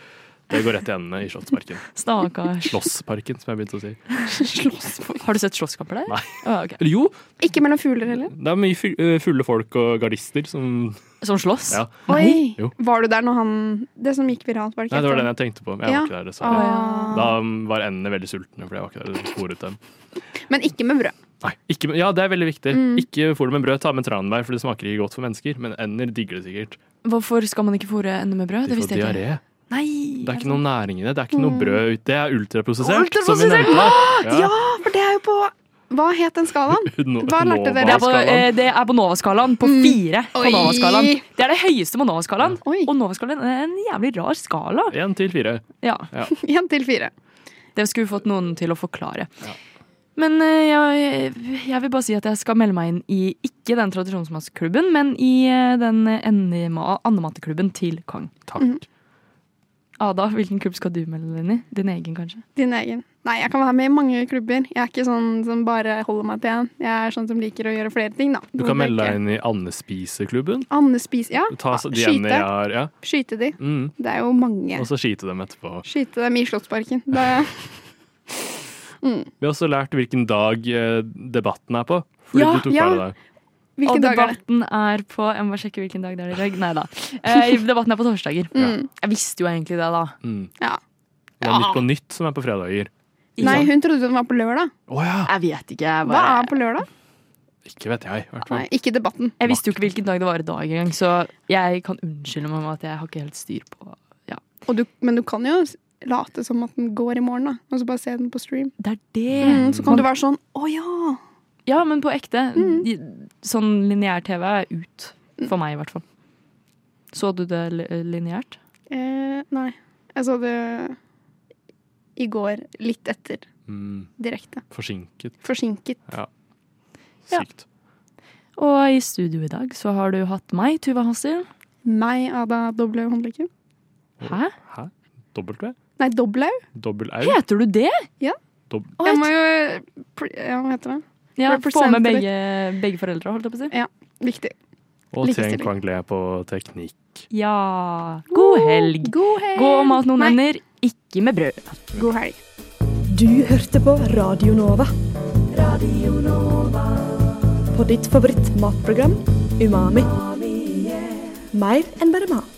[SPEAKER 4] Det går rett i endene i Slottsparken.
[SPEAKER 2] Stakkars.
[SPEAKER 4] Slåssparken, som jeg begynte å si.
[SPEAKER 2] Har du sett slåsskamper der?
[SPEAKER 4] Nei.
[SPEAKER 2] Ah, ok.
[SPEAKER 4] Eller jo,
[SPEAKER 3] Ikke mellom fugler heller?
[SPEAKER 4] det er mye fu- eh, fulle folk og gardister som
[SPEAKER 2] Som slåss?
[SPEAKER 4] Ja.
[SPEAKER 3] Oi!
[SPEAKER 4] Jo.
[SPEAKER 3] Var du der når han Det som gikk viralt, var det ikke?
[SPEAKER 4] Nei, det var den jeg tenkte på. men Jeg
[SPEAKER 3] Ja.
[SPEAKER 4] var ikke der, dessverre.
[SPEAKER 3] Ah.
[SPEAKER 4] Da um, var endene veldig sultne, fordi jeg var ikke der og fôret dem.
[SPEAKER 3] Men ikke med brød.
[SPEAKER 4] Nei, ikke, med- ja, det er veldig viktig.
[SPEAKER 3] Mm.
[SPEAKER 4] Ikke fôr det med brød, ta med tranbær, for det smaker ikke godt for mennesker. Men ender digger det sikkert.
[SPEAKER 2] Hvorfor skal man ikke fôre ender med brød?
[SPEAKER 4] De
[SPEAKER 2] Det
[SPEAKER 4] får
[SPEAKER 2] visste jeg
[SPEAKER 4] diaré.
[SPEAKER 2] ikke. Nei!
[SPEAKER 4] Det er ikke noe næring i det. Det er ikke noe
[SPEAKER 3] Mm.
[SPEAKER 4] brød ut. Det er ultraprosessert. som vi
[SPEAKER 3] Ultraprosessert! Ah!
[SPEAKER 4] nevnte.
[SPEAKER 3] Ja. for det er jo på Hva het den skalaen?
[SPEAKER 4] No-
[SPEAKER 3] Hva lærte
[SPEAKER 2] Det er på,
[SPEAKER 4] Nova-skalaen.
[SPEAKER 2] eh, det er på Nova-skalaen. På fire. På
[SPEAKER 3] Mm. Oi.
[SPEAKER 2] Nova-skalaen. Det er det høyeste på Nova-skalaen. Og Nova-skalaen er en jævlig rar skala.
[SPEAKER 4] Én til fire.
[SPEAKER 2] Ja.
[SPEAKER 4] Ja.
[SPEAKER 3] Én til fire.
[SPEAKER 2] Det skulle vi fått noen til å forklare. Men eh, jeg, jeg vil bare si at jeg skal melde meg inn i ikke den tradisjonsmatklubben, men i eh, den endema- andemateklubben til Kong.
[SPEAKER 4] Takk.
[SPEAKER 2] Ada, hvilken klubb skal du melde deg inn i? Din egen, kanskje?
[SPEAKER 3] Din egen. Nei, jeg kan være med i mange klubber. Jeg er ikke sånn som bare holder meg til én. Jeg er sånn som liker å gjøre flere ting, da.
[SPEAKER 4] Du kan melde deg inn i Andespiseklubben.
[SPEAKER 3] Andespis, ja.
[SPEAKER 2] Ah,
[SPEAKER 4] Ta så- de
[SPEAKER 3] Skyte.
[SPEAKER 4] endene jeg har. Ja.
[SPEAKER 3] Skyte de.
[SPEAKER 4] Mm.
[SPEAKER 3] Det er jo mange.
[SPEAKER 4] Og så skyte dem etterpå.
[SPEAKER 3] Skyte dem i Slottsparken. Det er mm.
[SPEAKER 4] Vi har også lært hvilken dag eh, debatten er på. Fordi
[SPEAKER 2] Ja,
[SPEAKER 4] du tok
[SPEAKER 2] ja.
[SPEAKER 4] ja. det der.
[SPEAKER 3] Hvilken
[SPEAKER 2] og
[SPEAKER 3] dag er det?
[SPEAKER 2] debatten er på Jeg må bare sjekke hvilken dag det er i dag. Nei da. Eh, debatten er på torsdager.
[SPEAKER 3] Mm.
[SPEAKER 2] Jeg visste jo egentlig det, da.
[SPEAKER 4] Mm.
[SPEAKER 3] Ja.
[SPEAKER 4] Det er Nytt på nytt som er på fredager.
[SPEAKER 3] Nei, hun trodde den var på lørdag.
[SPEAKER 2] Jeg vet ikke. Jeg,
[SPEAKER 3] Hva
[SPEAKER 2] bare,
[SPEAKER 3] er på lørdag?
[SPEAKER 4] Ikke vet jeg, i hvert fall.
[SPEAKER 3] Nei, ikke debatten.
[SPEAKER 2] jeg visste jo ikke hvilken dag det var i dag engang, så jeg kan unnskylde meg med at jeg har ikke helt styr på ja.
[SPEAKER 3] Og du, men du kan jo s- late som at den går i morgen, da. Og så bare se den på stream.
[SPEAKER 2] Det er det.
[SPEAKER 3] Mm, så kan du være sånn Å ja!
[SPEAKER 2] Ja, men på ekte. i- Sånn lineær-TV er ut. For meg, i hvert fall. Så du det li- lineært?
[SPEAKER 3] Eh, nei. Jeg så det i går. Litt etter.
[SPEAKER 4] Mm.
[SPEAKER 3] Direkte.
[SPEAKER 4] Forsinket.
[SPEAKER 3] Forsinket.
[SPEAKER 4] Ja. Sykt.
[SPEAKER 2] Og i studio i dag så har du hatt meg, Tuva Hassel.
[SPEAKER 3] Meg, Ada Doble Håndlykke.
[SPEAKER 2] Hæ?
[SPEAKER 4] Hæ? Dobbelt V?
[SPEAKER 3] Nei, Doblau.
[SPEAKER 4] Dobbel au?
[SPEAKER 2] Heter du det?
[SPEAKER 3] Ja.
[SPEAKER 4] Dob
[SPEAKER 3] Jeg må jo pr- Ja, hva heter det?
[SPEAKER 2] Ja, få
[SPEAKER 3] Representer
[SPEAKER 2] med
[SPEAKER 3] litt.
[SPEAKER 2] begge, begge foreldre, holdt jeg på å si.
[SPEAKER 3] Ja, viktig.
[SPEAKER 4] og Tien
[SPEAKER 2] Likestilling.
[SPEAKER 4] Kwang Le på teknikk.
[SPEAKER 2] Ja. God helg.
[SPEAKER 3] God helg.
[SPEAKER 2] Gå og mat noen ender, ikke med brød.
[SPEAKER 3] God helg.
[SPEAKER 12] Du hørte på Radio Nova. Radio Nova. På ditt favorittmatprogram Umami. Mer enn bare mat.